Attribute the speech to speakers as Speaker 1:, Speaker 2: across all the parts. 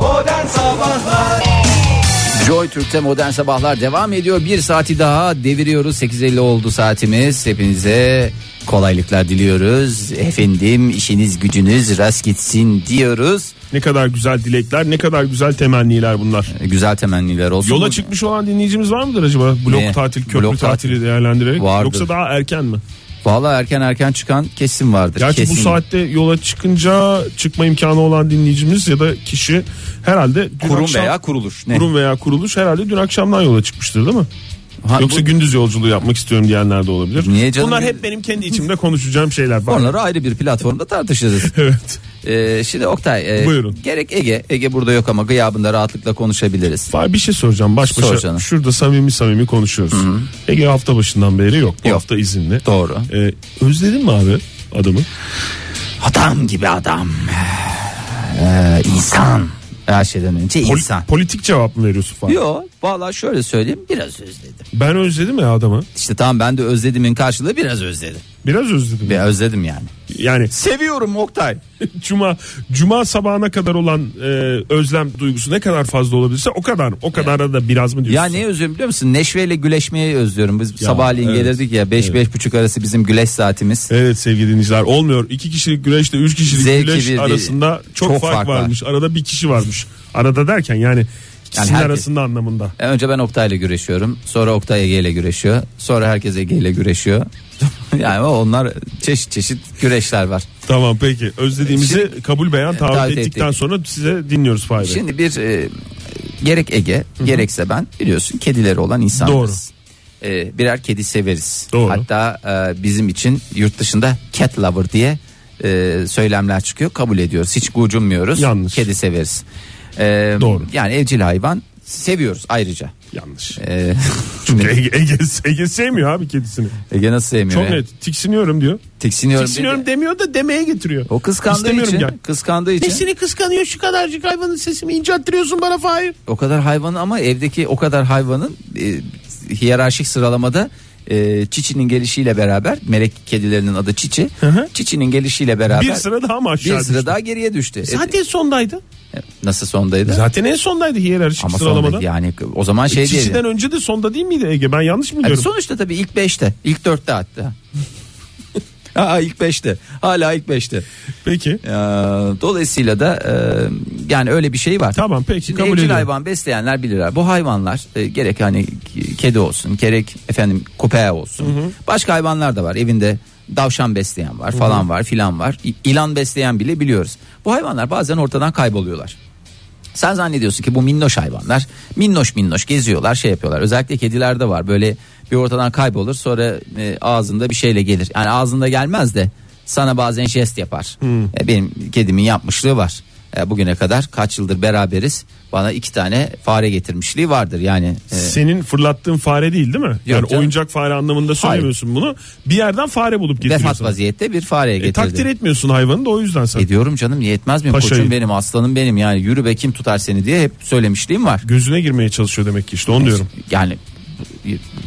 Speaker 1: Oh, Sabahlar
Speaker 2: Joy Türk'te modern sabahlar devam ediyor. Bir saati daha deviriyoruz. 8.50 oldu saatimiz. Hepinize kolaylıklar diliyoruz. Efendim işiniz gücünüz rast gitsin diyoruz.
Speaker 3: Ne kadar güzel dilekler, ne kadar güzel temenniler bunlar.
Speaker 2: E, Güzel temenniler olsun.
Speaker 3: Yola çıkmış olan dinleyicimiz var mıdır acaba? Blok
Speaker 2: Ne?
Speaker 3: tatil, köprü
Speaker 2: Blok
Speaker 3: tatili
Speaker 2: tatil.
Speaker 3: değerlendirerek.
Speaker 2: Vardır.
Speaker 3: Yoksa daha erken mi?
Speaker 2: Valla erken erken çıkan kesim vardır.
Speaker 3: Gerçi
Speaker 2: kesin.
Speaker 3: bu saatte yola çıkınca çıkma imkanı olan dinleyicimiz ya da kişi herhalde dün
Speaker 2: kurum
Speaker 3: akşam,
Speaker 2: veya kuruluş. Ne?
Speaker 3: kurum veya kuruluş herhalde dün akşamdan yola çıkmıştır değil mi?
Speaker 2: Ha,
Speaker 3: Yoksa
Speaker 2: bu-
Speaker 3: gündüz yolculuğu yapmak istiyorum diyenler de olabilir.
Speaker 2: Niye canım?
Speaker 3: Bunlar hep benim kendi içimde konuşacağım şeyler. Var.
Speaker 2: Onları ayrı bir platformda tartışırız.
Speaker 3: Evet.
Speaker 2: Ee, şimdi Oktay e,
Speaker 3: Buyurun.
Speaker 2: gerek Ege Ege burada yok ama gıyabında rahatlıkla konuşabiliriz.
Speaker 3: Var bir şey soracağım baş başa.
Speaker 2: Sor canım.
Speaker 3: Şurada samimi samimi konuşuyoruz. Ege hafta başından beri yok. Bu
Speaker 2: Yok.
Speaker 3: hafta izinli.
Speaker 2: Doğru.
Speaker 3: Ee, özledin mi abi adamı?
Speaker 2: Adam gibi adam. Ee, insan. Her şeyden önce
Speaker 3: Poli-
Speaker 2: insan.
Speaker 3: politik cevap mı veriyorsun falan?
Speaker 2: Yo valla şöyle söyleyeyim biraz özledim.
Speaker 3: Ben özledim ya adamı.
Speaker 2: İşte tamam ben de özledimin karşılığı biraz özledim.
Speaker 3: Biraz özledim.
Speaker 2: Ve özledim yani.
Speaker 3: Yani
Speaker 2: Seviyorum Oktay.
Speaker 3: cuma cuma sabahına kadar olan e, özlem duygusu ne kadar fazla olabilirse o kadar o kadar da biraz mı
Speaker 2: Ya
Speaker 3: diyorsun?
Speaker 2: ne özlüyorum biliyor musun? Neşveyle güleşmeyi özlüyorum. Biz sabahleyin
Speaker 3: evet.
Speaker 2: gelirdik ya 5 beş buçuk arası bizim güleş saatimiz.
Speaker 3: Evet sevgili dinleyiciler olmuyor. İki kişilik güreşle üç kişilik
Speaker 2: Zevki
Speaker 3: güreş
Speaker 2: bir değil.
Speaker 3: arasında çok,
Speaker 2: Çok
Speaker 3: fark,
Speaker 2: fark var.
Speaker 3: varmış. Arada bir kişi varmış. Arada derken yani ikisinin
Speaker 2: herkes-
Speaker 3: arasında anlamında.
Speaker 2: E, Önce ben Oktay'la güreşiyorum. Sonra Oktay Ege'yle güreşiyor. Sonra herkes Ege'yle güreşiyor. yani onlar çeşit çeşit güreşler var.
Speaker 3: Tamam peki özlediğimizi kabul beyan taahhüt
Speaker 2: taahhüt
Speaker 3: ettikten
Speaker 2: ettik.
Speaker 3: sonra size dinliyoruz Fahri. Bey.
Speaker 2: Şimdi bir e, gerek Ege gerekse ben biliyorsun kedileri olan insanlarız. E, birer kedi severiz.
Speaker 3: Doğru.
Speaker 2: Hatta e, bizim için yurt dışında cat lover diye e, söylemler çıkıyor. Kabul ediyoruz. Hiç gocunmuyoruz.
Speaker 3: Yanlış.
Speaker 2: Kedi severiz. E,
Speaker 3: Doğru.
Speaker 2: Yani evcil hayvan seviyoruz ayrıca.
Speaker 3: Yanlış.
Speaker 2: E,
Speaker 3: Çünkü Ege, Ege, Ege sevmiyor abi kedisini.
Speaker 2: Ege nasıl sevmiyor?
Speaker 3: Çok
Speaker 2: ya?
Speaker 3: net tiksiniyorum diyor.
Speaker 2: Tiksiniyorum.
Speaker 3: Tiksiniyorum
Speaker 2: dedi.
Speaker 3: demiyor da demeye getiriyor.
Speaker 2: O kıskandığı
Speaker 3: İstemiyorum
Speaker 2: için,
Speaker 3: yani.
Speaker 2: kıskandığı için
Speaker 3: Nesini kıskanıyor şu kadarcık hayvanın sesimi incelttiriyorsun bana Fahir.
Speaker 2: o kadar hayvanı ama evdeki o kadar hayvanın e, hiyerarşik sıralamada e, Çiçi'nin gelişiyle beraber melek kedilerinin adı Çiçi.
Speaker 3: hı.
Speaker 2: Çiçi'nin gelişiyle beraber
Speaker 3: Bir sıra daha mı aşağı
Speaker 2: bir sıra
Speaker 3: düştü?
Speaker 2: daha geriye düştü. E,
Speaker 3: Zaten sondaydı.
Speaker 2: nasıl sondaydı?
Speaker 3: Zaten E, en sondaydı hiyerarşik
Speaker 2: ama
Speaker 3: sıralamada.
Speaker 2: sondaydı yani o zaman şey Hani değil.
Speaker 3: Çişiden önce de sonda değil miydi Ege? Ben yanlış mı
Speaker 2: Yani
Speaker 3: diyorum?
Speaker 2: sonuçta tabii ilk 5'te, ilk 4'te hatta. Aa, ilk 5'te. Hala ilk 5'te.
Speaker 3: Peki.
Speaker 2: Ee, dolayısıyla da e, yani öyle bir şey var.
Speaker 3: Tamam, peki,
Speaker 2: Şimdi
Speaker 3: kabul
Speaker 2: evcil
Speaker 3: ediyorum.
Speaker 2: hayvan besleyenler bilirler. Bu hayvanlar e, gerek hani k- kedi olsun, gerek efendim köpeği olsun. Başka hayvanlar da var. Evinde davşan besleyen var, falan var, filan var. İ- İlan besleyen bile biliyoruz. Bu hayvanlar bazen ortadan kayboluyorlar. Sen zannediyorsun ki bu minnoş hayvanlar minnoş minnoş geziyorlar şey yapıyorlar. Özellikle kedilerde var böyle bir ortadan kaybolur sonra e, ağzında bir şeyle gelir. Yani ağzında gelmez de sana bazen jest yapar.
Speaker 3: Hmm.
Speaker 2: E, benim kedimin yapmışlığı var. E, bugüne kadar kaç yıldır beraberiz bana iki tane fare getirmişliği vardır yani. e,
Speaker 3: Senin fırlattığın fare değil değil mi? yani
Speaker 2: canım.
Speaker 3: oyuncak fare anlamında söylemiyorsun bunu. Bir yerden fare bulup
Speaker 2: vefat E-
Speaker 3: getiriyorsun.
Speaker 2: vaziyette bir fareye
Speaker 3: E,
Speaker 2: getirdim.
Speaker 3: takdir etmiyorsun hayvanı da o yüzden sen.
Speaker 2: Ediyorum canım niye etmez miyim?
Speaker 3: Paşayı.
Speaker 2: Koçum benim aslanım benim yani yürü be kim tutar seni diye hep söylemişliğim var.
Speaker 3: Gözüne girmeye çalışıyor demek ki işte onu diyorum.
Speaker 2: Yani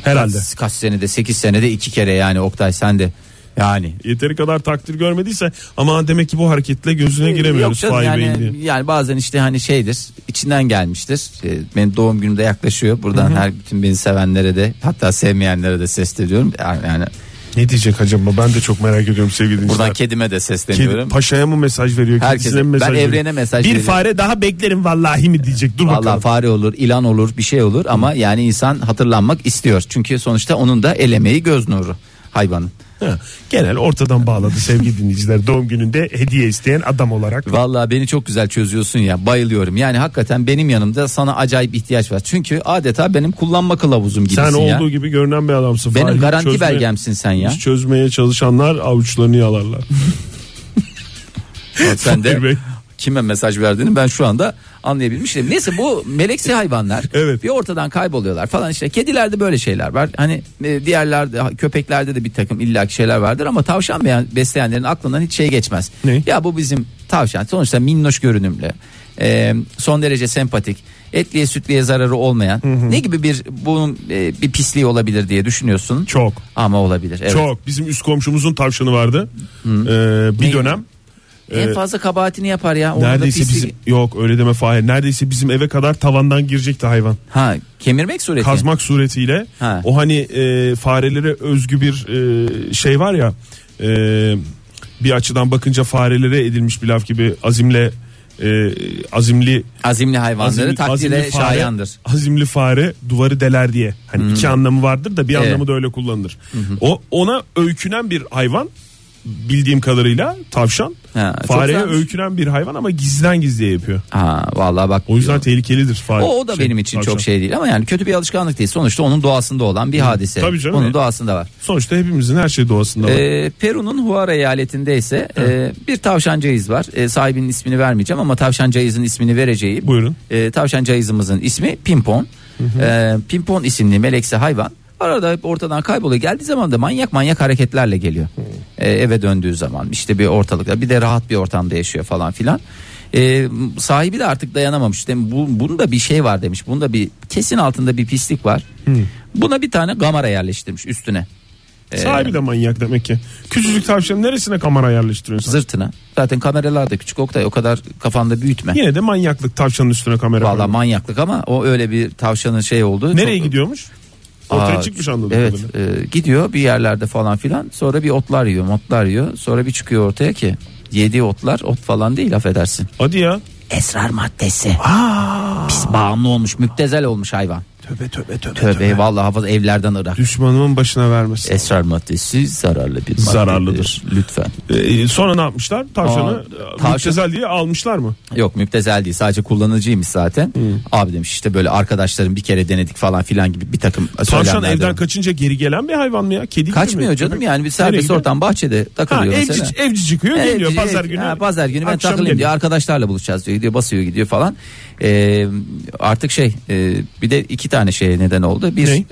Speaker 3: Herhalde.
Speaker 2: Kaç, kaç senede 8 senede iki kere yani Oktay sen de yani.
Speaker 3: Yeteri kadar takdir görmediyse ama demek ki bu hareketle gözüne
Speaker 2: Ee, Yok
Speaker 3: giremiyoruz
Speaker 2: canım,
Speaker 3: Fahri Bey'in diye.
Speaker 2: yani, yani bazen işte hani şeydir içinden gelmiştir. Ee, Benim doğum günüm de yaklaşıyor. Buradan her bütün beni sevenlere de hatta sevmeyenlere de sesleniyorum. Yani, yani
Speaker 3: Ne diyecek acaba ben de çok merak ediyorum sevgili
Speaker 2: buradan
Speaker 3: dinleyiciler.
Speaker 2: kedime de
Speaker 3: Kedi,
Speaker 2: sesleniyorum.
Speaker 3: paşaya mı mesaj veriyor?
Speaker 2: Herkese.
Speaker 3: kendisine mi mesaj
Speaker 2: Ben
Speaker 3: veriyor?
Speaker 2: evrene mesaj
Speaker 3: Bir
Speaker 2: veriyorum.
Speaker 3: fare daha beklerim vallahi mi diyecek. Dur
Speaker 2: Vallahi
Speaker 3: bakalım.
Speaker 2: fare olur, ilan olur, bir şey olur ama yani insan hatırlanmak istiyor. Çünkü sonuçta onun da el emeği göz nuru hayvanın.
Speaker 3: Ha, genel ortadan bağladı sevgili dinleyiciler. Doğum gününde hediye isteyen adam olarak.
Speaker 2: Vallahi beni çok güzel çözüyorsun ya bayılıyorum. Yani hakikaten benim yanımda sana acayip ihtiyaç var. Çünkü adeta benim kullanma kılavuzum gibisin
Speaker 3: Sen
Speaker 2: ya.
Speaker 3: olduğu gibi görünen bir adamsın.
Speaker 2: Benim
Speaker 3: Fahri.
Speaker 2: garanti
Speaker 3: Çözmeye-
Speaker 2: belgemsin sen ya.
Speaker 3: Hiç Çözmeye çalışanlar avuçlarını yalarlar.
Speaker 2: Bak sen
Speaker 3: Fahir Bey.
Speaker 2: de kime mesaj verdiğini ben şu anda anlayabilmiştim. Neyse bu meleksi hayvanlar
Speaker 3: Evet.
Speaker 2: bir ortadan kayboluyorlar falan işte. Kedilerde böyle şeyler var. Hani e, diğerlerde köpeklerde de bir takım illaki şeyler vardır ama tavşan beğen- besleyenlerin aklından hiç şey geçmez.
Speaker 3: Ne?
Speaker 2: Ya bu bizim tavşan sonuçta minnoş görünümlü. e, son derece sempatik. Etliye sütliye zararı olmayan. Ne gibi bir bunun e, bir pisliği olabilir diye düşünüyorsun.
Speaker 3: Çok.
Speaker 2: Ama olabilir. Evet.
Speaker 3: Çok. Bizim üst komşumuzun tavşanı vardı. Ee, bir
Speaker 2: Ne?
Speaker 3: dönem.
Speaker 2: en fazla kabahatini yapar ya. Onun da
Speaker 3: Neredeyse
Speaker 2: pisliği-
Speaker 3: bizim yok öyle deme Fahir. Neredeyse bizim eve kadar tavandan girecekti hayvan.
Speaker 2: Ha kemirmek sureti.
Speaker 3: Kazmak suretiyle.
Speaker 2: Ha.
Speaker 3: O hani e, farelere özgü bir e, şey var ya. e, bir açıdan bakınca farelere edilmiş bir laf gibi azimle e, azimli
Speaker 2: Azimli hayvanları takdire
Speaker 3: fare-
Speaker 2: şayandır. Hmm.
Speaker 3: Azimli fare duvarı deler diye. Hani iki anlamı vardır da bir
Speaker 2: Evet. Hmm.
Speaker 3: anlamı da öyle kullanılır. O ona öykünen bir hayvan bildiğim kadarıyla tavşan.
Speaker 2: Ha, çok
Speaker 3: fareye
Speaker 2: güzelmiş.
Speaker 3: öykünen bir hayvan ama gizliden gizliye yapıyor.
Speaker 2: Ha vallahi bak.
Speaker 3: O yüzden tehlikelidir fare.
Speaker 2: O, o da
Speaker 3: şey,
Speaker 2: benim için
Speaker 3: tavşan.
Speaker 2: çok şey değil ama yani kötü bir alışkanlık değil. Sonuçta onun doğasında olan bir hadise.
Speaker 3: Tabii canım.
Speaker 2: Onun doğasında var.
Speaker 3: Sonuçta hepimizin her şey doğasında var.
Speaker 2: Ee, Peru'nun Huara eyaletinde ise e, bir tavşan cayız var. E, sahibinin ismini vermeyeceğim ama tavşan cayızın ismini vereceğim.
Speaker 3: Buyurun.
Speaker 2: E, tavşan cayızımızın ismi Pimpon. E, Pimpon isimli melekse hayvan. Arada hep ortadan kayboluyor. Geldiği zaman da manyak manyak hareketlerle geliyor. E, eve döndüğü zaman işte bir ortalıkta bir de rahat bir ortamda yaşıyor falan filan. E, sahibi de artık dayanamamış. Demiş, bu, bunda bir şey var demiş. Bunda bir kesin altında bir pislik var. Buna bir tane gamara yerleştirmiş üstüne. E,
Speaker 3: Sahibi de manyak demek ki. Küçücük tavşanın neresine kamera yerleştiriyorsun?
Speaker 2: zırtına. Zaten kameralar da küçük Oktay o kadar kafanda büyütme.
Speaker 3: Yine de manyaklık tavşanın üstüne kamera.
Speaker 2: Valla
Speaker 3: koyuyor.
Speaker 2: manyaklık ama o öyle bir tavşanın şey oldu.
Speaker 3: Nereye
Speaker 2: Çok-
Speaker 3: gidiyormuş? Ortaya
Speaker 2: Aa,
Speaker 3: çıkmış anladım.
Speaker 2: Evet e, gidiyor bir yerlerde falan filan sonra bir otlar yiyor motlar yiyor sonra bir çıkıyor ortaya ki yediği otlar ot falan değil affedersin.
Speaker 3: Hadi ya.
Speaker 2: Esrar maddesi. Pis bağımlı olmuş müptezel olmuş hayvan.
Speaker 3: Tövbe tövbe tövbe.
Speaker 2: Tövbe vallahi hafız evlerden ırak.
Speaker 3: Düşmanımın başına vermesin.
Speaker 2: Esrar maddesi zararlı bir maddedir.
Speaker 3: Zararlıdır.
Speaker 2: Lütfen.
Speaker 3: Ee, sonra ne yapmışlar? Tavşanı
Speaker 2: Aa,
Speaker 3: e,
Speaker 2: tavşan-
Speaker 3: müptezel diye almışlar mı?
Speaker 2: Yok müptezel değil sadece kullanıcıymış zaten. Abi demiş işte böyle arkadaşlarım bir kere denedik falan filan gibi bir takım
Speaker 3: Tavşan
Speaker 2: söylemler de
Speaker 3: evden
Speaker 2: var.
Speaker 3: kaçınca geri gelen bir hayvan mı ya? Kedi gibi
Speaker 2: kaçmıyor
Speaker 3: mi?
Speaker 2: canım
Speaker 3: Köpek-
Speaker 2: yani bir
Speaker 3: Nereye
Speaker 2: serbest
Speaker 3: gidiyor?
Speaker 2: ortam bahçede
Speaker 3: Ha,
Speaker 2: takılıyor mesela.
Speaker 3: evci, evci çıkıyor
Speaker 2: Ha,
Speaker 3: geliyor
Speaker 2: evci-
Speaker 3: pazar
Speaker 2: evci-
Speaker 3: günü.
Speaker 2: ha, pazar günü ben
Speaker 3: akşam
Speaker 2: takılayım diyor
Speaker 3: geliyor.
Speaker 2: arkadaşlarla buluşacağız diyor gidiyor basıyor gidiyor falan. Ee, artık şey e, bir de iki tane şeye neden oldu. Bir
Speaker 3: Ne?
Speaker 2: e,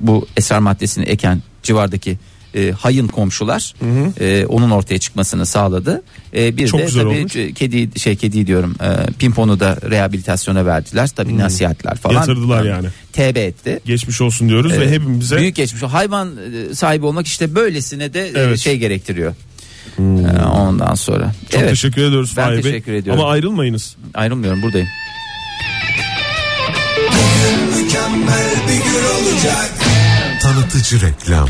Speaker 2: bu esrar maddesini eken civardaki e, hayın komşular e, onun ortaya çıkmasını sağladı. E, bir
Speaker 3: Çok
Speaker 2: de
Speaker 3: güzel
Speaker 2: tabii
Speaker 3: olmuş.
Speaker 2: e, kedi şey kedi diyorum e, pimponu da rehabilitasyona verdiler. Tabii nasihatler falan.
Speaker 3: Yatırdılar yani.
Speaker 2: TB etti.
Speaker 3: Geçmiş olsun diyoruz ve E, hepimize
Speaker 2: Büyük geçmiş. Hayvan e, sahibi olmak işte böylesine de e,
Speaker 3: Evet. Hmm.
Speaker 2: şey gerektiriyor. E, Ondan sonra.
Speaker 3: çok
Speaker 2: evet,
Speaker 3: teşekkür ediyoruz
Speaker 2: Ben
Speaker 3: Fahri Bey.
Speaker 2: teşekkür ediyorum.
Speaker 3: Ama ayrılmayınız.
Speaker 2: ayrılmıyorum buradayım.
Speaker 1: Mükemmel bir gün olacak.
Speaker 4: Tanıtıcı reklam.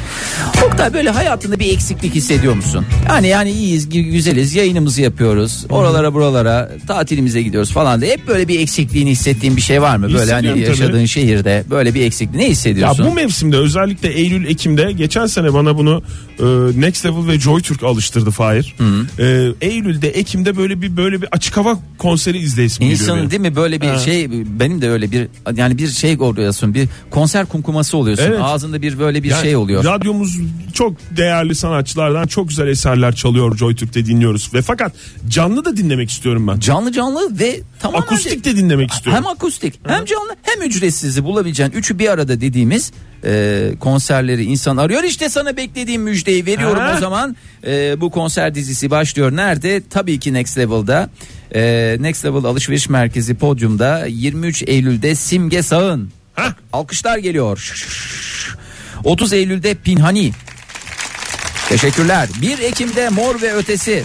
Speaker 2: Oktay böyle hayatında bir eksiklik hissediyor musun? Yani yani iyiyiz, gü- güzeliz, yayınımızı yapıyoruz. Oralara buralara tatilimize gidiyoruz falan diye. Hep böyle bir eksikliğini hissettiğin bir şey var mı? Böyle hani
Speaker 3: Hissediyorum tabii.
Speaker 2: yaşadığın şehirde böyle bir eksiklik ne
Speaker 3: Ya
Speaker 2: hissediyorsun?
Speaker 3: bu mevsimde özellikle Eylül Ekim'de geçen sene bana bunu e, Next Level ve Joy Türk alıştırdı Fahir. E, Eylül'de Ekim'de böyle bir böyle bir açık hava konseri izleyesim geliyor benim.
Speaker 2: İnsanın değil mi böyle bir
Speaker 3: Ha.
Speaker 2: şey benim de öyle bir yani bir şey oluyorsun bir konser kumkuması oluyorsun
Speaker 3: Evet.
Speaker 2: ağzında bir böyle bir
Speaker 3: Yani
Speaker 2: şey oluyor.
Speaker 3: Radyomuz çok değerli sanatçılardan çok güzel eserler çalıyor JoyTürk'te dinliyoruz. Ve fakat canlı da dinlemek istiyorum ben.
Speaker 2: Canlı canlı ve tamamen de-
Speaker 3: Akustik de dinlemek istiyorum.
Speaker 2: Hem akustik hem canlı hem ücretsizi bulabileceğin üçü bir arada dediğimiz e, konserleri insan arıyor. İşte sana beklediğim müjdeyi veriyorum
Speaker 3: Ha?
Speaker 2: o zaman. E, bu konser dizisi başlıyor. Nerede? Tabii ki Next Level'da. E, Next Level Alışveriş Merkezi podyumda 23 Eylül'de Simge Sağın.
Speaker 3: Ha?
Speaker 2: Alkışlar geliyor. Şş, şş, şş. 30 Eylül'de Pinhani. Teşekkürler. 1 Ekim'de Mor ve Ötesi.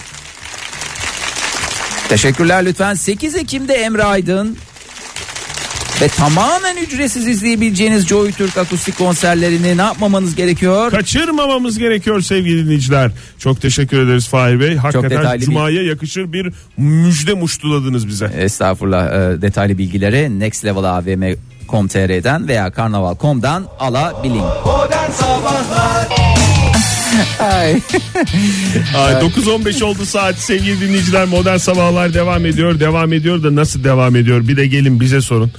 Speaker 2: Teşekkürler lütfen. 8 Ekim'de Emre Aydın. Ve tamamen ücretsiz izleyebileceğiniz Joy Türk akustik konserlerini ne yapmamanız gerekiyor?
Speaker 3: Kaçırmamamız gerekiyor sevgili dinleyiciler. Çok teşekkür ederiz Fahir Bey. Hakikaten
Speaker 2: detaylı bir-
Speaker 3: Cuma'ya yakışır bir müjde muştuladınız bize.
Speaker 2: Estağfurullah e, detaylı bilgileri Next Level AVM.com.tr'den veya Karnaval.com'dan alabilin.
Speaker 1: Modern Sabahlar
Speaker 2: Ay.
Speaker 3: Ay, 9.15 oldu saat sevgili dinleyiciler. Modern Sabahlar devam ediyor. Devam ediyor da nasıl devam ediyor? Bir de gelin bize sorun.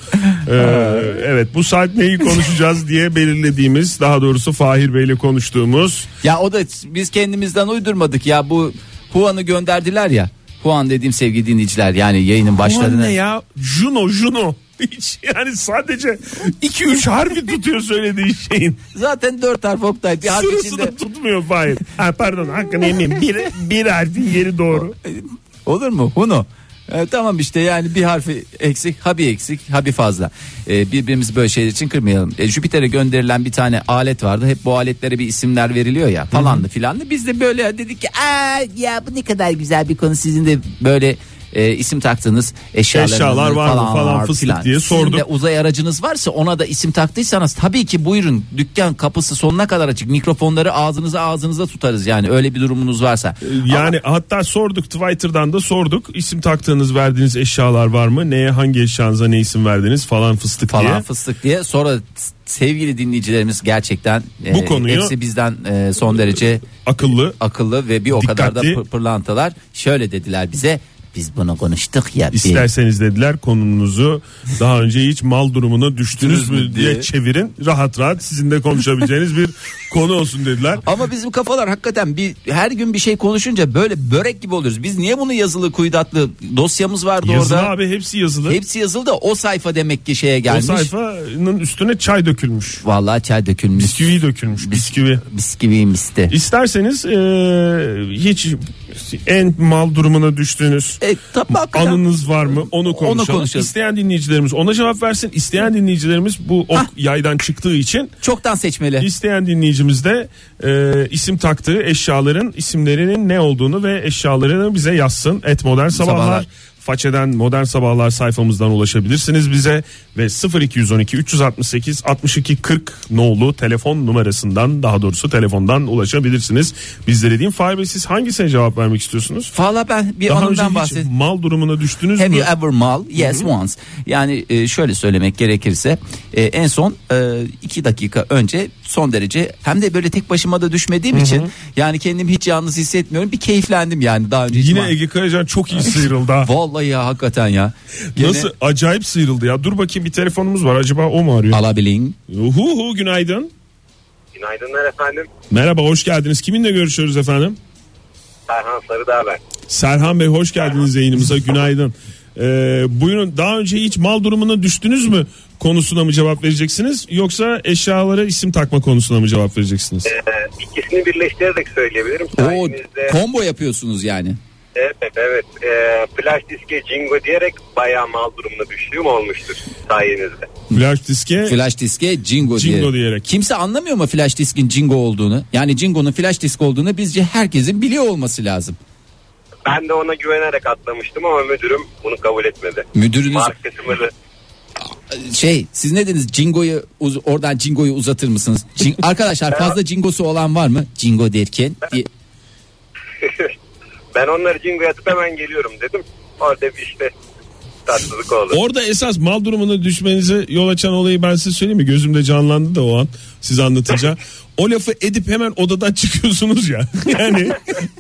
Speaker 3: Ee, evet bu saat neyi konuşacağız diye belirlediğimiz daha doğrusu Fahir Bey'le konuştuğumuz
Speaker 2: Ya o da biz kendimizden uydurmadık ya bu Huan'ı gönderdiler ya. Huan dediğim sevgili dinleyiciler yani yayının
Speaker 3: Ulan
Speaker 2: başladığını.
Speaker 3: ne ya? Juno Juno. Hiç yani sadece 2-3 harfi tutuyor söylediği şeyin.
Speaker 2: Zaten dört harf Oktay bir harf
Speaker 3: Sırası
Speaker 2: içinde.
Speaker 3: da tutmuyor Fahir. Ha, pardon hakkını yemeyeyim. Bir, bir harfin yeri doğru.
Speaker 2: Olur mu? Huno. E, tamam işte yani bir harfi eksik, ha bir eksik, ha bir fazla. E, birbirimizi böyle şeyler için kırmayalım. E, Jüpiter'e gönderilen bir tane alet vardı. Hep bu aletlere bir isimler veriliyor ya falandı filandı. Biz de böyle dedik ki Aa, ya bu ne kadar güzel bir konu sizin de böyle e, isim taktığınız eşyalarınız
Speaker 3: Eşyalar var mı falan
Speaker 2: var
Speaker 3: fıstık
Speaker 2: filan.
Speaker 3: diye
Speaker 2: Sizin
Speaker 3: sorduk.
Speaker 2: de uzay aracınız varsa ona da isim taktıysanız tabii ki buyurun dükkan kapısı sonuna kadar açık. Mikrofonları ağzınıza ağzınıza tutarız yani öyle bir durumunuz
Speaker 3: Ee,
Speaker 2: varsa.
Speaker 3: Yani hatta sorduk Twitter'dan da sorduk. İsim taktığınız verdiğiniz eşyalar var mı? Neye hangi eşyanıza ne isim verdiniz falan fıstık
Speaker 2: falan
Speaker 3: diye.
Speaker 2: fıstık diye. Sonra s- sevgili dinleyicilerimiz gerçekten
Speaker 3: Bu
Speaker 2: e,
Speaker 3: konuyu-
Speaker 2: hepsi bizden e, son derece
Speaker 3: Akıllı
Speaker 2: akıllı ve bir o kadar da
Speaker 3: Dikkatli.
Speaker 2: pır- pırlantalar. Şöyle dediler bize biz bunu konuştuk ya. bir-
Speaker 3: isterseniz dediler konumunuzu daha önce hiç mal durumuna düştünüz
Speaker 2: Düştünüz mü
Speaker 3: mü diye
Speaker 2: diye.
Speaker 3: çevirin. Rahat rahat sizin de konuşabileceğiniz bir konu olsun dediler.
Speaker 2: Ama bizim kafalar hakikaten bir her gün bir şey konuşunca böyle börek gibi oluyoruz. Biz niye bunu yazılı kuydatlı dosyamız vardı
Speaker 3: Yazılı
Speaker 2: orada.
Speaker 3: abi hepsi yazılı.
Speaker 2: Hepsi yazılı da o sayfa demek ki şeye
Speaker 3: o
Speaker 2: gelmiş.
Speaker 3: sayfanın üstüne çay dökülmüş.
Speaker 2: Vallahi çay dökülmüş.
Speaker 3: Bisküvi dökülmüş. Bisküvi.
Speaker 2: Bisküvi misti.
Speaker 3: İsterseniz e, hiç en mal durumuna düştüğünüz
Speaker 2: E, tabii hakikaten.
Speaker 3: anınız var mı? Onu konuşalım.
Speaker 2: konuşalım.
Speaker 3: İsteyen dinleyicilerimiz ona cevap versin. İsteyen dinleyicilerimiz bu ok yaydan çıktığı için
Speaker 2: Çoktan seçmeli.
Speaker 3: isteyen dinleyicimiz de e, isim taktığı eşyaların isimlerinin ne olduğunu ve eşyalarını bize yazsın. Et Modern Sabahlar.
Speaker 2: Sabahlar.
Speaker 3: Façeden Modern Sabahlar sayfamızdan ulaşabilirsiniz bize ve 0212 368 62 40 nolu telefon numarasından daha doğrusu telefondan ulaşabilirsiniz. Bizlere deyin Fahir Bey siz hangisine cevap vermek istiyorsunuz?
Speaker 2: Valla ben bir
Speaker 3: Daha önce
Speaker 2: anımdan
Speaker 3: hiç
Speaker 2: bahsedeyim.
Speaker 3: mal durumuna düştünüz
Speaker 2: Have
Speaker 3: mü?
Speaker 2: you ever mal? Yes once. Yani e, şöyle söylemek gerekirse e, en son e, iki dakika önce son derece hem de böyle tek başıma da düşmediğim için yani kendimi hiç yalnız hissetmiyorum. Bir keyiflendim yani daha önce. hiç
Speaker 3: Yine
Speaker 2: mal-
Speaker 3: Ege Kayacan çok iyi sıyrıldı ha.
Speaker 2: Vallahi ya hakikaten ya. Gene
Speaker 3: Nasıl acayip sıyrıldı ya. Dur bakayım bir telefonumuz var. Acaba o mu arıyor?
Speaker 2: Alabileyim.
Speaker 3: Hu hu günaydın.
Speaker 5: Günaydınlar efendim.
Speaker 3: Merhaba hoş geldiniz. Kiminle görüşüyoruz efendim?
Speaker 5: Serhan Sarıdağ ben.
Speaker 3: Serhan Bey hoş geldiniz yayınımıza. Günaydın. Ee, buyurun daha önce hiç mal durumuna düştünüz mü konusuna mı cevap vereceksiniz yoksa eşyalara isim takma konusuna mı cevap vereceksiniz?
Speaker 5: Ee, ikisini birleştirerek söyleyebilirim.
Speaker 2: O
Speaker 5: Sayenizde
Speaker 2: combo yapıyorsunuz yani.
Speaker 5: evet, evet e, flash diske cingo diyerek bayağı mal durumuna düştüğüm olmuştur sayenizde.
Speaker 3: Flash diske
Speaker 2: Flash diske Jingo, diye.
Speaker 3: Jingo diyerek.
Speaker 2: Kimse anlamıyor mu flash diskin Jingo olduğunu? Yani Jingo'nun flash disk olduğunu bizce herkesin biliyor olması lazım.
Speaker 5: Ben de ona güvenerek atlamıştım ama müdürüm bunu kabul etmedi.
Speaker 2: Müdürünüz
Speaker 5: Marketimi de-
Speaker 2: şey siz ne dediniz Cingo'yu uz- oradan Cingo'yu uzatır mısınız? Cin- Arkadaşlar fazla Cingo'su olan var mı? Cingo derken diye-
Speaker 5: ben onları cingoya atıp hemen geliyorum dedim. Orada bir işte tatsızlık oldu.
Speaker 3: Orada esas mal durumuna düşmenize yol açan olayı ben size söyleyeyim mi? Gözümde canlandı da o an siz anlatınca. O lafı edip hemen odadan çıkıyorsunuz ya. Yani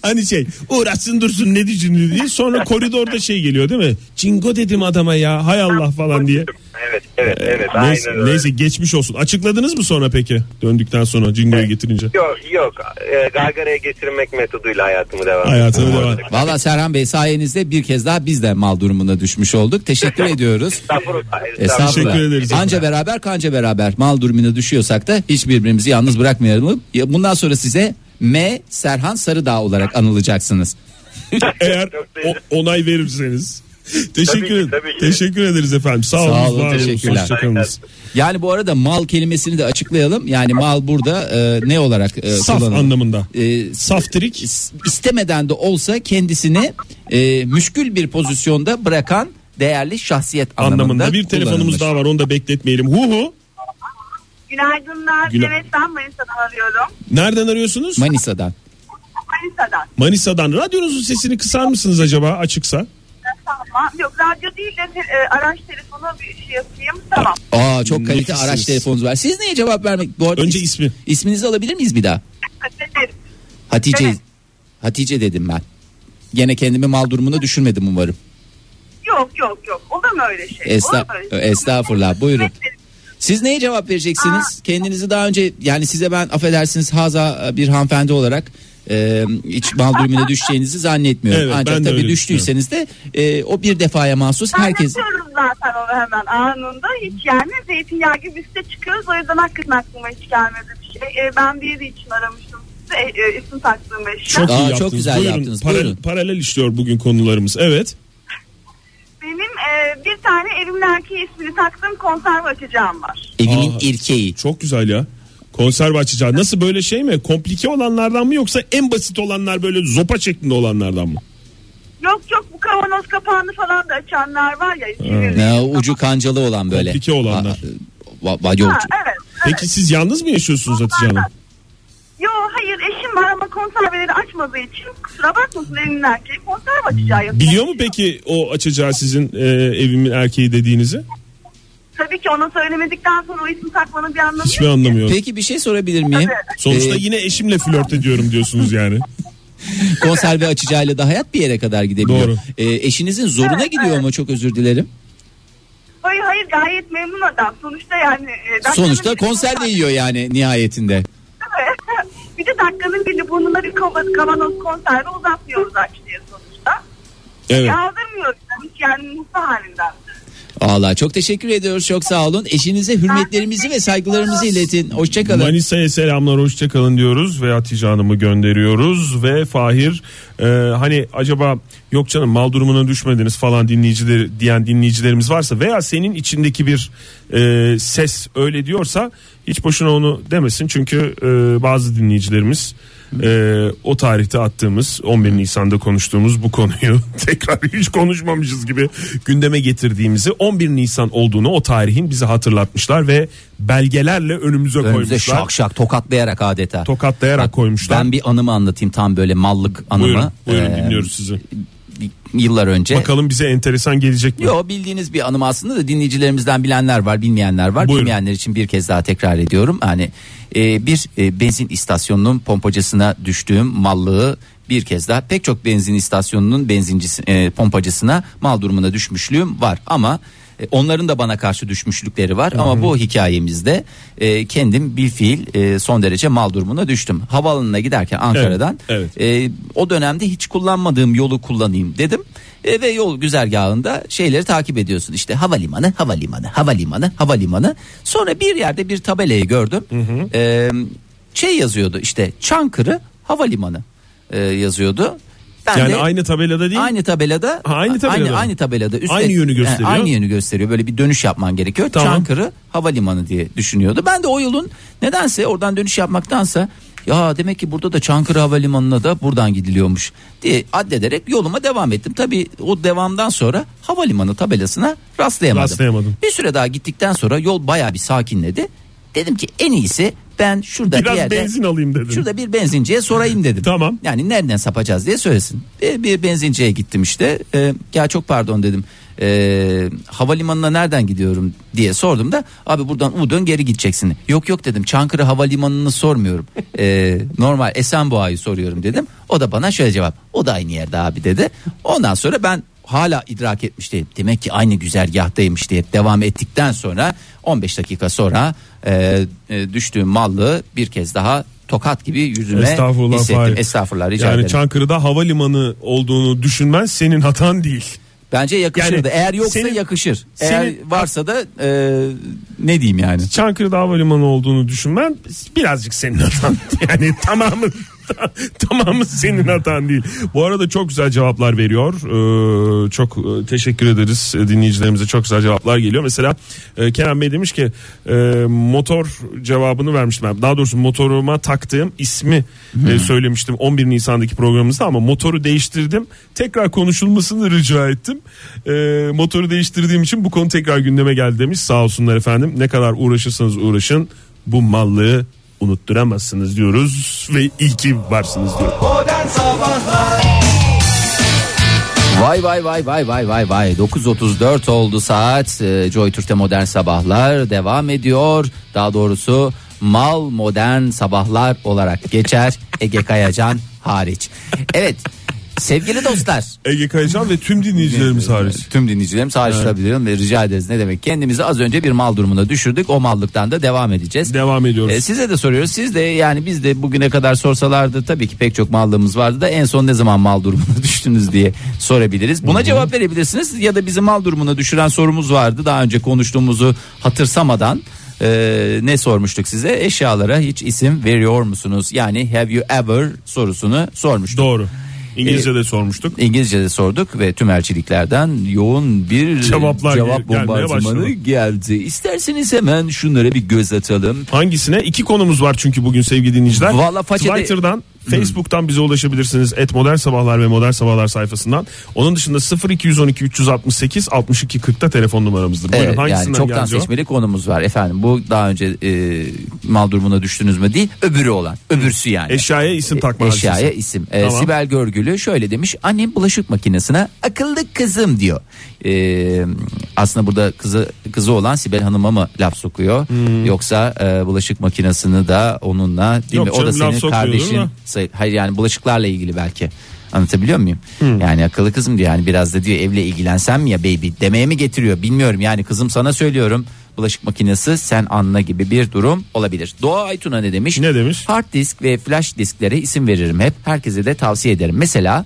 Speaker 3: hani şey uğraşsın dursun ne düşündü diye. Sonra koridorda şey geliyor değil mi? Cingo dedim adama ya hay Allah falan diye. Ee,
Speaker 5: Evet evet evet
Speaker 3: neyse,
Speaker 5: aynen öyle.
Speaker 3: neyse geçmiş olsun. Açıkladınız mı sonra peki? Döndükten sonra Cingo'yu getirince.
Speaker 5: Yok yok e, gargaraya getirmek metoduyla hayatımı devam
Speaker 3: Hayatına
Speaker 5: ettim.
Speaker 3: devam.
Speaker 2: Valla Serhan Bey sayenizde bir kez daha biz de mal durumuna düşmüş olduk. Teşekkür ediyoruz.
Speaker 5: Estağfurullah,
Speaker 2: Estağfurullah.
Speaker 5: estağfurullah.
Speaker 3: Teşekkür ederiz.
Speaker 2: Anca beraber kanca beraber mal durumuna düşüyorsak da hiç birbirimizi yalnız bırakmayalım. Ya Bundan sonra size M Serhan Sarıdağ olarak anılacaksınız.
Speaker 3: Eğer
Speaker 5: Çok
Speaker 3: o-
Speaker 5: değil.
Speaker 3: onay verirseniz. Teşekkür,
Speaker 5: ki, tabii ki.
Speaker 3: teşekkür ederiz efendim. Sağ,
Speaker 2: Sağ
Speaker 3: olun.
Speaker 2: olun,
Speaker 3: var olun,
Speaker 2: teşekkürler.
Speaker 3: hoşçakalınız.
Speaker 2: Yani bu arada mal kelimesini de açıklayalım. Yani mal burada e, ne olarak e,
Speaker 3: Saf
Speaker 2: kullanılır?
Speaker 3: anlamında.
Speaker 2: E,
Speaker 3: Saftirik.
Speaker 2: is- istemeden de olsa kendisini e, müşkül bir pozisyonda bırakan değerli şahsiyet anlamında,
Speaker 3: anlamında bir
Speaker 2: kullanılır.
Speaker 3: telefonumuz daha var onu da bekletmeyelim. Hu hu.
Speaker 6: Günaydınlar.
Speaker 3: Günay-
Speaker 6: Evet ben Manisa'dan arıyorum.
Speaker 3: Nereden arıyorsunuz?
Speaker 2: Manisa'dan.
Speaker 6: Manisa'dan.
Speaker 3: Manisa'dan. Radyonuzun sesini kısar mısınız acaba açıksa?
Speaker 6: Tamam. Yok radyo değil de te- e, araç telefonu bir şey yapayım. Tamam.
Speaker 2: Aa çok kalite
Speaker 3: Nefissiniz.
Speaker 2: araç telefonunuz var. Siz neye cevap vermek? Bu arada
Speaker 3: Önce
Speaker 2: is-
Speaker 3: ismi.
Speaker 2: isminizi alabilir miyiz bir daha?
Speaker 6: Kaçabilirim.
Speaker 2: Hatice.
Speaker 6: Evet.
Speaker 2: Hatice dedim ben. Gene kendimi mal durumuna düşürmedim umarım.
Speaker 6: Yok yok yok. Olur mu öyle şey?
Speaker 2: Esta-
Speaker 6: Olur mu öyle şey?
Speaker 2: estağfurullah. Buyurun.
Speaker 6: Evet,
Speaker 2: Siz neye cevap vereceksiniz? Kendinizi daha önce yani size ben affedersiniz haza bir hanımefendi olarak e, hiç mal durumuna düşeceğinizi zannetmiyorum.
Speaker 3: Evet, ben
Speaker 2: Ancak
Speaker 3: de
Speaker 2: tabii
Speaker 3: öyle
Speaker 2: düştüyseniz de e, o bir defaya mahsus
Speaker 6: Ben
Speaker 2: herkes
Speaker 6: yapıyorum zaten onu hemen anında. Hiç yani zeytinyağı gibi üste çıkıyoruz. O yüzden hakikaten aklıma hiç gelmedi bir şey. E, ben biri için aramıştım. sizi. E, e, isim taktığım eşya.
Speaker 3: Çok
Speaker 2: Aa,
Speaker 3: iyi
Speaker 2: çok
Speaker 3: yaptınız.
Speaker 2: güzel
Speaker 3: Buyurun,
Speaker 2: yaptınız.
Speaker 3: paral-
Speaker 2: Buyurun.
Speaker 3: Paralel işliyor bugün konularımız. Evet.
Speaker 6: e, bir tane evimin erkeği ismini taktığım konserve açacağım var.
Speaker 2: Evimin
Speaker 3: Aa.
Speaker 2: erkeği.
Speaker 3: Çok güzel ya. Konserve açacağı. Nasıl böyle şey mi? Komplike olanlardan mı yoksa en basit olanlar böyle zopa şeklinde olanlardan mı?
Speaker 6: Yok yok bu kavanoz kapağını falan da açanlar var ya. çevirdiği
Speaker 2: Ne,
Speaker 6: zaman.
Speaker 2: ucu kancalı olan böyle.
Speaker 3: Komplike olanlar.
Speaker 2: Va- va- Vadi
Speaker 6: Ha,
Speaker 2: ucu.
Speaker 6: evet.
Speaker 3: Peki siz yalnız mı yaşıyorsunuz Hatice Hanım?
Speaker 6: Yo hayır eşim var ama konserveleri açmadığı için kusura bakmasın evimin erkeği konserve açacağı yok.
Speaker 3: Biliyor mu peki o açacağı sizin e, evimin erkeği dediğinizi?
Speaker 6: Tabii ki ona söylemedikten sonra o ismi takmanın bir anlamı
Speaker 3: Hiçbir
Speaker 6: yok.
Speaker 3: anlamı yok.
Speaker 2: Peki bir şey sorabilir miyim?
Speaker 3: Sonuçta
Speaker 2: Ee,
Speaker 3: yine eşimle flört ediyorum diyorsunuz yani.
Speaker 2: konserve açacağıyla da hayat bir yere kadar gidebiliyor.
Speaker 3: Doğru.
Speaker 2: Ee, eşinizin zoruna
Speaker 6: Evet,
Speaker 2: gidiyor
Speaker 6: evet.
Speaker 2: mu? Çok özür dilerim.
Speaker 6: Hayır hayır gayet memnun adam. Sonuçta yani. e, dakikanın
Speaker 2: Sonuçta
Speaker 6: biri-
Speaker 2: konserve yiyor yani nihayetinde.
Speaker 6: bir de dakikanın birini burnuna bir kava- kavanoz konserve uzatmıyoruz açlıya sonuçta.
Speaker 3: Evet.
Speaker 6: Yağdırmıyoruz. Yani Hiç yani mutlu halinden.
Speaker 2: Valla çok teşekkür ediyoruz. Çok sağ olun. Eşinize hürmetlerimizi ve saygılarımızı iletin. Hoşçakalın.
Speaker 3: Manisa'ya selamlar hoşçakalın diyoruz ve Hatice Hanım'ı gönderiyoruz ve Fahir e, hani acaba yok canım mal durumuna düşmediniz falan dinleyicileri diyen dinleyicilerimiz varsa veya senin içindeki bir e, ses öyle diyorsa hiç boşuna onu demesin çünkü e, bazı dinleyicilerimiz e, o tarihte attığımız 11 Nisan'da konuştuğumuz bu konuyu tekrar hiç konuşmamışız gibi gündeme getirdiğimizi 11 Nisan olduğunu o tarihin bize hatırlatmışlar ve belgelerle önümüze
Speaker 2: Önümüze
Speaker 3: koymuşlar.
Speaker 2: şak şak tokatlayarak adeta.
Speaker 3: Tokatlayarak koymuşlar.
Speaker 2: Ben bir anımı anlatayım tam böyle mallık anımı.
Speaker 3: Buyurun, buyurun
Speaker 2: Ee,
Speaker 3: dinliyoruz sizi.
Speaker 2: Yıllar önce.
Speaker 3: Bakalım bize enteresan gelecek mi?
Speaker 2: Yo bildiğiniz bir anım aslında da dinleyicilerimizden bilenler var bilmeyenler var.
Speaker 3: Buyurun.
Speaker 2: Bilmeyenler için bir kez daha tekrar ediyorum. Hani e, bir e, benzin istasyonunun pompacısına düştüğüm mallığı bir kez daha pek çok benzin istasyonunun benzincisi e, pompacısına mal durumuna düşmüşlüğüm var ama e, Onların da bana karşı düşmüşlükleri var ama bu hikayemizde e, kendim bir fiil son derece mal durumuna düştüm. Havaalanına giderken Ankara'dan
Speaker 3: evet.
Speaker 2: e, o dönemde hiç kullanmadığım yolu kullanayım dedim. E, ve yol güzergahında şeyleri takip ediyorsun. İşte havalimanı, havalimanı, havalimanı, havalimanı. Sonra bir yerde bir tabelayı gördüm. E, şey yazıyordu işte Çankırı Havalimanı e, yazıyordu. Ben
Speaker 3: yani
Speaker 2: de-
Speaker 3: aynı tabelada değil.
Speaker 2: Aynı tabelada
Speaker 3: Ha, aynı tabelada mı?
Speaker 2: aynı, aynı tabelada üstte-
Speaker 3: Aynı yönü gösteriyor.
Speaker 2: aynı yönü gösteriyor. Böyle bir dönüş yapman gerekiyor.
Speaker 3: Tamam.
Speaker 2: Çankırı Havalimanı diye düşünüyordu. Ben de o yolun nedense oradan dönüş yapmaktansa ya demek ki burada da Çankırı Havalimanı'na da buradan gidiliyormuş diye addederek yoluma devam ettim. Tabii o devamdan sonra havalimanı tabelasına rastlayamadım.
Speaker 3: Rastlayamadım.
Speaker 2: Bir süre daha gittikten sonra yol bayağı bir sakinledi. Dedim ki en iyisi ben şurada
Speaker 3: Biraz
Speaker 2: bir yerde
Speaker 3: benzin alayım dedim.
Speaker 2: Şurada bir benzinciye sorayım dedim.
Speaker 3: Tamam.
Speaker 2: Yani nereden sapacağız diye söylesin. Bir, bir benzinciye gittim işte. Ee, ya çok pardon dedim. Ee, havalimanına nereden gidiyorum diye sordum da abi buradan U dön geri gideceksin. Yok yok dedim Çankırı Havalimanı'nı sormuyorum. Ee, normal Esenboğa'yı soruyorum dedim. O da bana şöyle cevap. O da aynı yerde abi dedi. Ondan sonra ben hala idrak etmiş değilim. Demek ki aynı güzergahtaymış diye devam ettikten sonra 15 dakika sonra e, e, düştüğüm mallı bir kez daha tokat gibi yüzüme
Speaker 3: Estağfurullah
Speaker 2: hissettim.
Speaker 3: Fahir.
Speaker 2: Estağfurullah rica
Speaker 3: yani
Speaker 2: ederim.
Speaker 3: Çankırı'da havalimanı olduğunu düşünmen senin hatan değil.
Speaker 2: Bence yakışırdı.
Speaker 3: Yani
Speaker 2: Eğer yoksa
Speaker 3: senin-
Speaker 2: yakışır. Eğer
Speaker 3: senin-
Speaker 2: varsa da e, ne diyeyim yani.
Speaker 3: Çankırı'da havalimanı olduğunu düşünmen birazcık senin hatan. Yani tamamı tamamı senin hatan değil. Bu arada çok güzel cevaplar veriyor. Ee, çok e, teşekkür ederiz E, dinleyicilerimize. Çok güzel cevaplar geliyor. Mesela e, Kenan Bey demiş ki e, motor cevabını vermiştim. ben. Daha doğrusu motoruma taktığım ismi e, söylemiştim 11 Nisan'daki programımızda ama motoru değiştirdim. Tekrar konuşulmasını rica ettim. E, motoru değiştirdiğim için bu konu tekrar gündeme geldi demiş. Sağ olsunlar efendim. Ne kadar uğraşırsanız uğraşın bu mallığı unutturamazsınız diyoruz ve iyi ki varsınız diyoruz.
Speaker 1: Modern Sabahlar
Speaker 2: Vay vay vay vay vay vay vay 9.34 oldu saat Ee, Joy Türk'te modern sabahlar devam ediyor daha doğrusu mal modern sabahlar olarak geçer Ege Kayacan hariç evet sevgili dostlar
Speaker 3: Ege Kayacan ve tüm dinleyicilerimiz hariç.
Speaker 2: Tüm dinleyicilerimiz hariç tabii diyorum ve rica ederiz ne demek kendimizi az önce bir mal durumuna düşürdük o mallıktan da devam edeceğiz
Speaker 3: Devam ediyoruz.
Speaker 2: Ee, size de soruyoruz. Siz de yani biz de bugüne kadar sorsalardı tabii ki pek çok mallığımız vardı da en son ne zaman mal durumuna düştünüz diye sorabiliriz. Buna cevap verebilirsiniz ya da bizi mal durumuna düşüren sorumuz vardı. Daha önce konuştuğumuzu hatırsamadan e, ne sormuştuk size? Eşyalara hiç isim veriyor musunuz? Yani have you ever sorusunu sormuştuk.
Speaker 3: Doğru. İngilizce'de sormuştuk.
Speaker 2: İngilizce'de sorduk ve tümerciliklerden yoğun bir
Speaker 3: Cevaplar
Speaker 2: cevap
Speaker 3: gel- gelmeye
Speaker 2: bombardımanı
Speaker 3: başladı.
Speaker 2: geldi. İsterseniz hemen şunlara bir göz atalım.
Speaker 3: Hangisine? İki konumuz var çünkü bugün sevgili dinleyiciler.
Speaker 2: Valla façede-
Speaker 3: Twitter'dan,
Speaker 2: Hmm.
Speaker 3: Facebook'tan bize ulaşabilirsiniz. Et Modern Sabahlar ve Modern Sabahlar sayfasından. Onun dışında 0212 368 62 40'ta telefon numaramızdır. Buyurun
Speaker 2: Evet, yani
Speaker 3: hangisinden
Speaker 2: çoktan
Speaker 3: geldi o?
Speaker 2: seçmeli konumuz var efendim. Bu daha önce e, mal durumuna düştünüz mü değil, öbürü olan, öbürsü yani.
Speaker 3: Eşyaya isim takma
Speaker 2: E, Eşyaya
Speaker 3: hadisesi.
Speaker 2: isim. Ee,
Speaker 3: Tamam.
Speaker 2: Sibel Görgülü şöyle demiş. Annem bulaşık makinesine akıllı kızım diyor. Ee, aslında burada kızı kızı olan Sibel Hanım'a mı laf sokuyor?
Speaker 3: Hmm.
Speaker 2: Yoksa e, bulaşık makinesini da onunla değil
Speaker 3: Yok
Speaker 2: mi? o
Speaker 3: canım,
Speaker 2: da
Speaker 3: laf
Speaker 2: senin
Speaker 3: sokmuyor, değil mi?
Speaker 2: kardeşin. sayı- Hayır yani bulaşıklarla ilgili belki. Anlatabiliyor muyum?
Speaker 3: Hmm.
Speaker 2: Yani akıllı kızım diyor yani biraz da diyor evle ilgilensem ya baby demeye mi getiriyor bilmiyorum yani kızım sana söylüyorum bulaşık makinesi sen anla gibi bir durum olabilir. Doğa Aytun'a ne demiş?
Speaker 3: Ne demiş?
Speaker 2: Hard disk ve flash disklere isim veririm hep. Herkese de tavsiye ederim. Mesela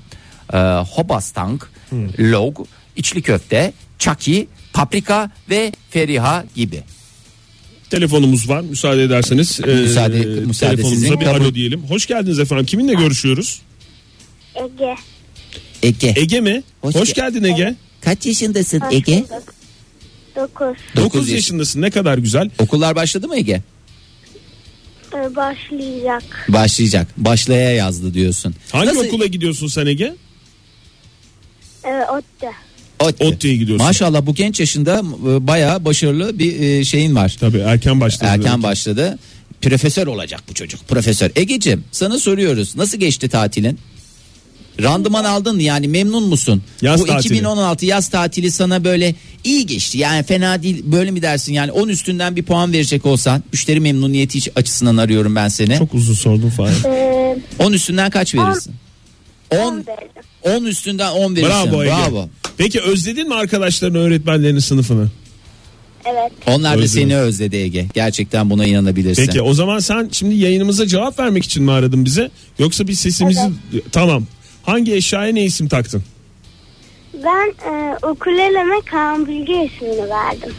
Speaker 2: e, Hobastank,
Speaker 3: Hmm.
Speaker 2: Log, İçli Köfte, Chucky, Paprika ve Feriha gibi.
Speaker 3: Telefonumuz var. Müsaade ederseniz e,
Speaker 2: Müsaade- müsaade sizin.
Speaker 3: telefonumuza bir
Speaker 2: Kabul-
Speaker 3: alo diyelim. Hoş geldiniz efendim. Kiminle görüşüyoruz?
Speaker 7: Ege.
Speaker 2: Ege.
Speaker 3: Ege mi?
Speaker 2: Hoş
Speaker 3: Hoş,
Speaker 2: ge-
Speaker 3: geldin Ege.
Speaker 2: Kaç yaşındasın Ege?
Speaker 7: 9.
Speaker 2: Dokuz
Speaker 3: 9 yaşındasın. Ne kadar güzel.
Speaker 2: Okullar başladı mı Ege?
Speaker 7: Ee, Başlayacak.
Speaker 2: Başlayacak. Başlaya yazdı diyorsun.
Speaker 3: Hangi
Speaker 2: Nasıl-
Speaker 3: okula gidiyorsun sen Ege?
Speaker 7: Ee, ODTÜ.
Speaker 2: Ot-
Speaker 3: ODTÜ'ye gidiyorsun.
Speaker 2: Maşallah bu genç yaşında e, bayağı başarılı bir e, şeyin var.
Speaker 3: Tabii erken başladın.
Speaker 2: Erken başladı. Profesör olacak bu çocuk. Profesör. Egeciğim sana soruyoruz. Nasıl geçti tatilin? Randıman aldın mı? yani memnun musun?
Speaker 3: Yaz
Speaker 2: bu
Speaker 3: tatili.
Speaker 2: 2016 yaz tatili sana böyle iyi geçti. Yani fena değil böyle mi dersin? Yani 10 üstünden bir puan verecek olsan müşteri memnuniyeti iç- açısından arıyorum ben seni.
Speaker 3: Çok uzun sordun Fahir.
Speaker 7: Ee,
Speaker 2: 10 üstünden kaç verirsin? 10
Speaker 7: on verdim.
Speaker 2: 10 üstünden 10 verirsin.
Speaker 3: Bravo Ege.
Speaker 2: Bravo.
Speaker 3: Peki özledin mi arkadaşlarını, öğretmenlerini, sınıfını?
Speaker 7: Evet.
Speaker 2: Onlar da
Speaker 3: Özledim.
Speaker 2: seni özledi Ege. Gerçekten buna inanabilirsin.
Speaker 3: Peki o zaman sen şimdi yayınımıza cevap vermek için mi aradın bize? Yoksa bir sesimizi... Tamam. Hangi eşyaya ne isim taktın?
Speaker 7: Ben e, ukuleleme Kaan Bilge ismini verdim.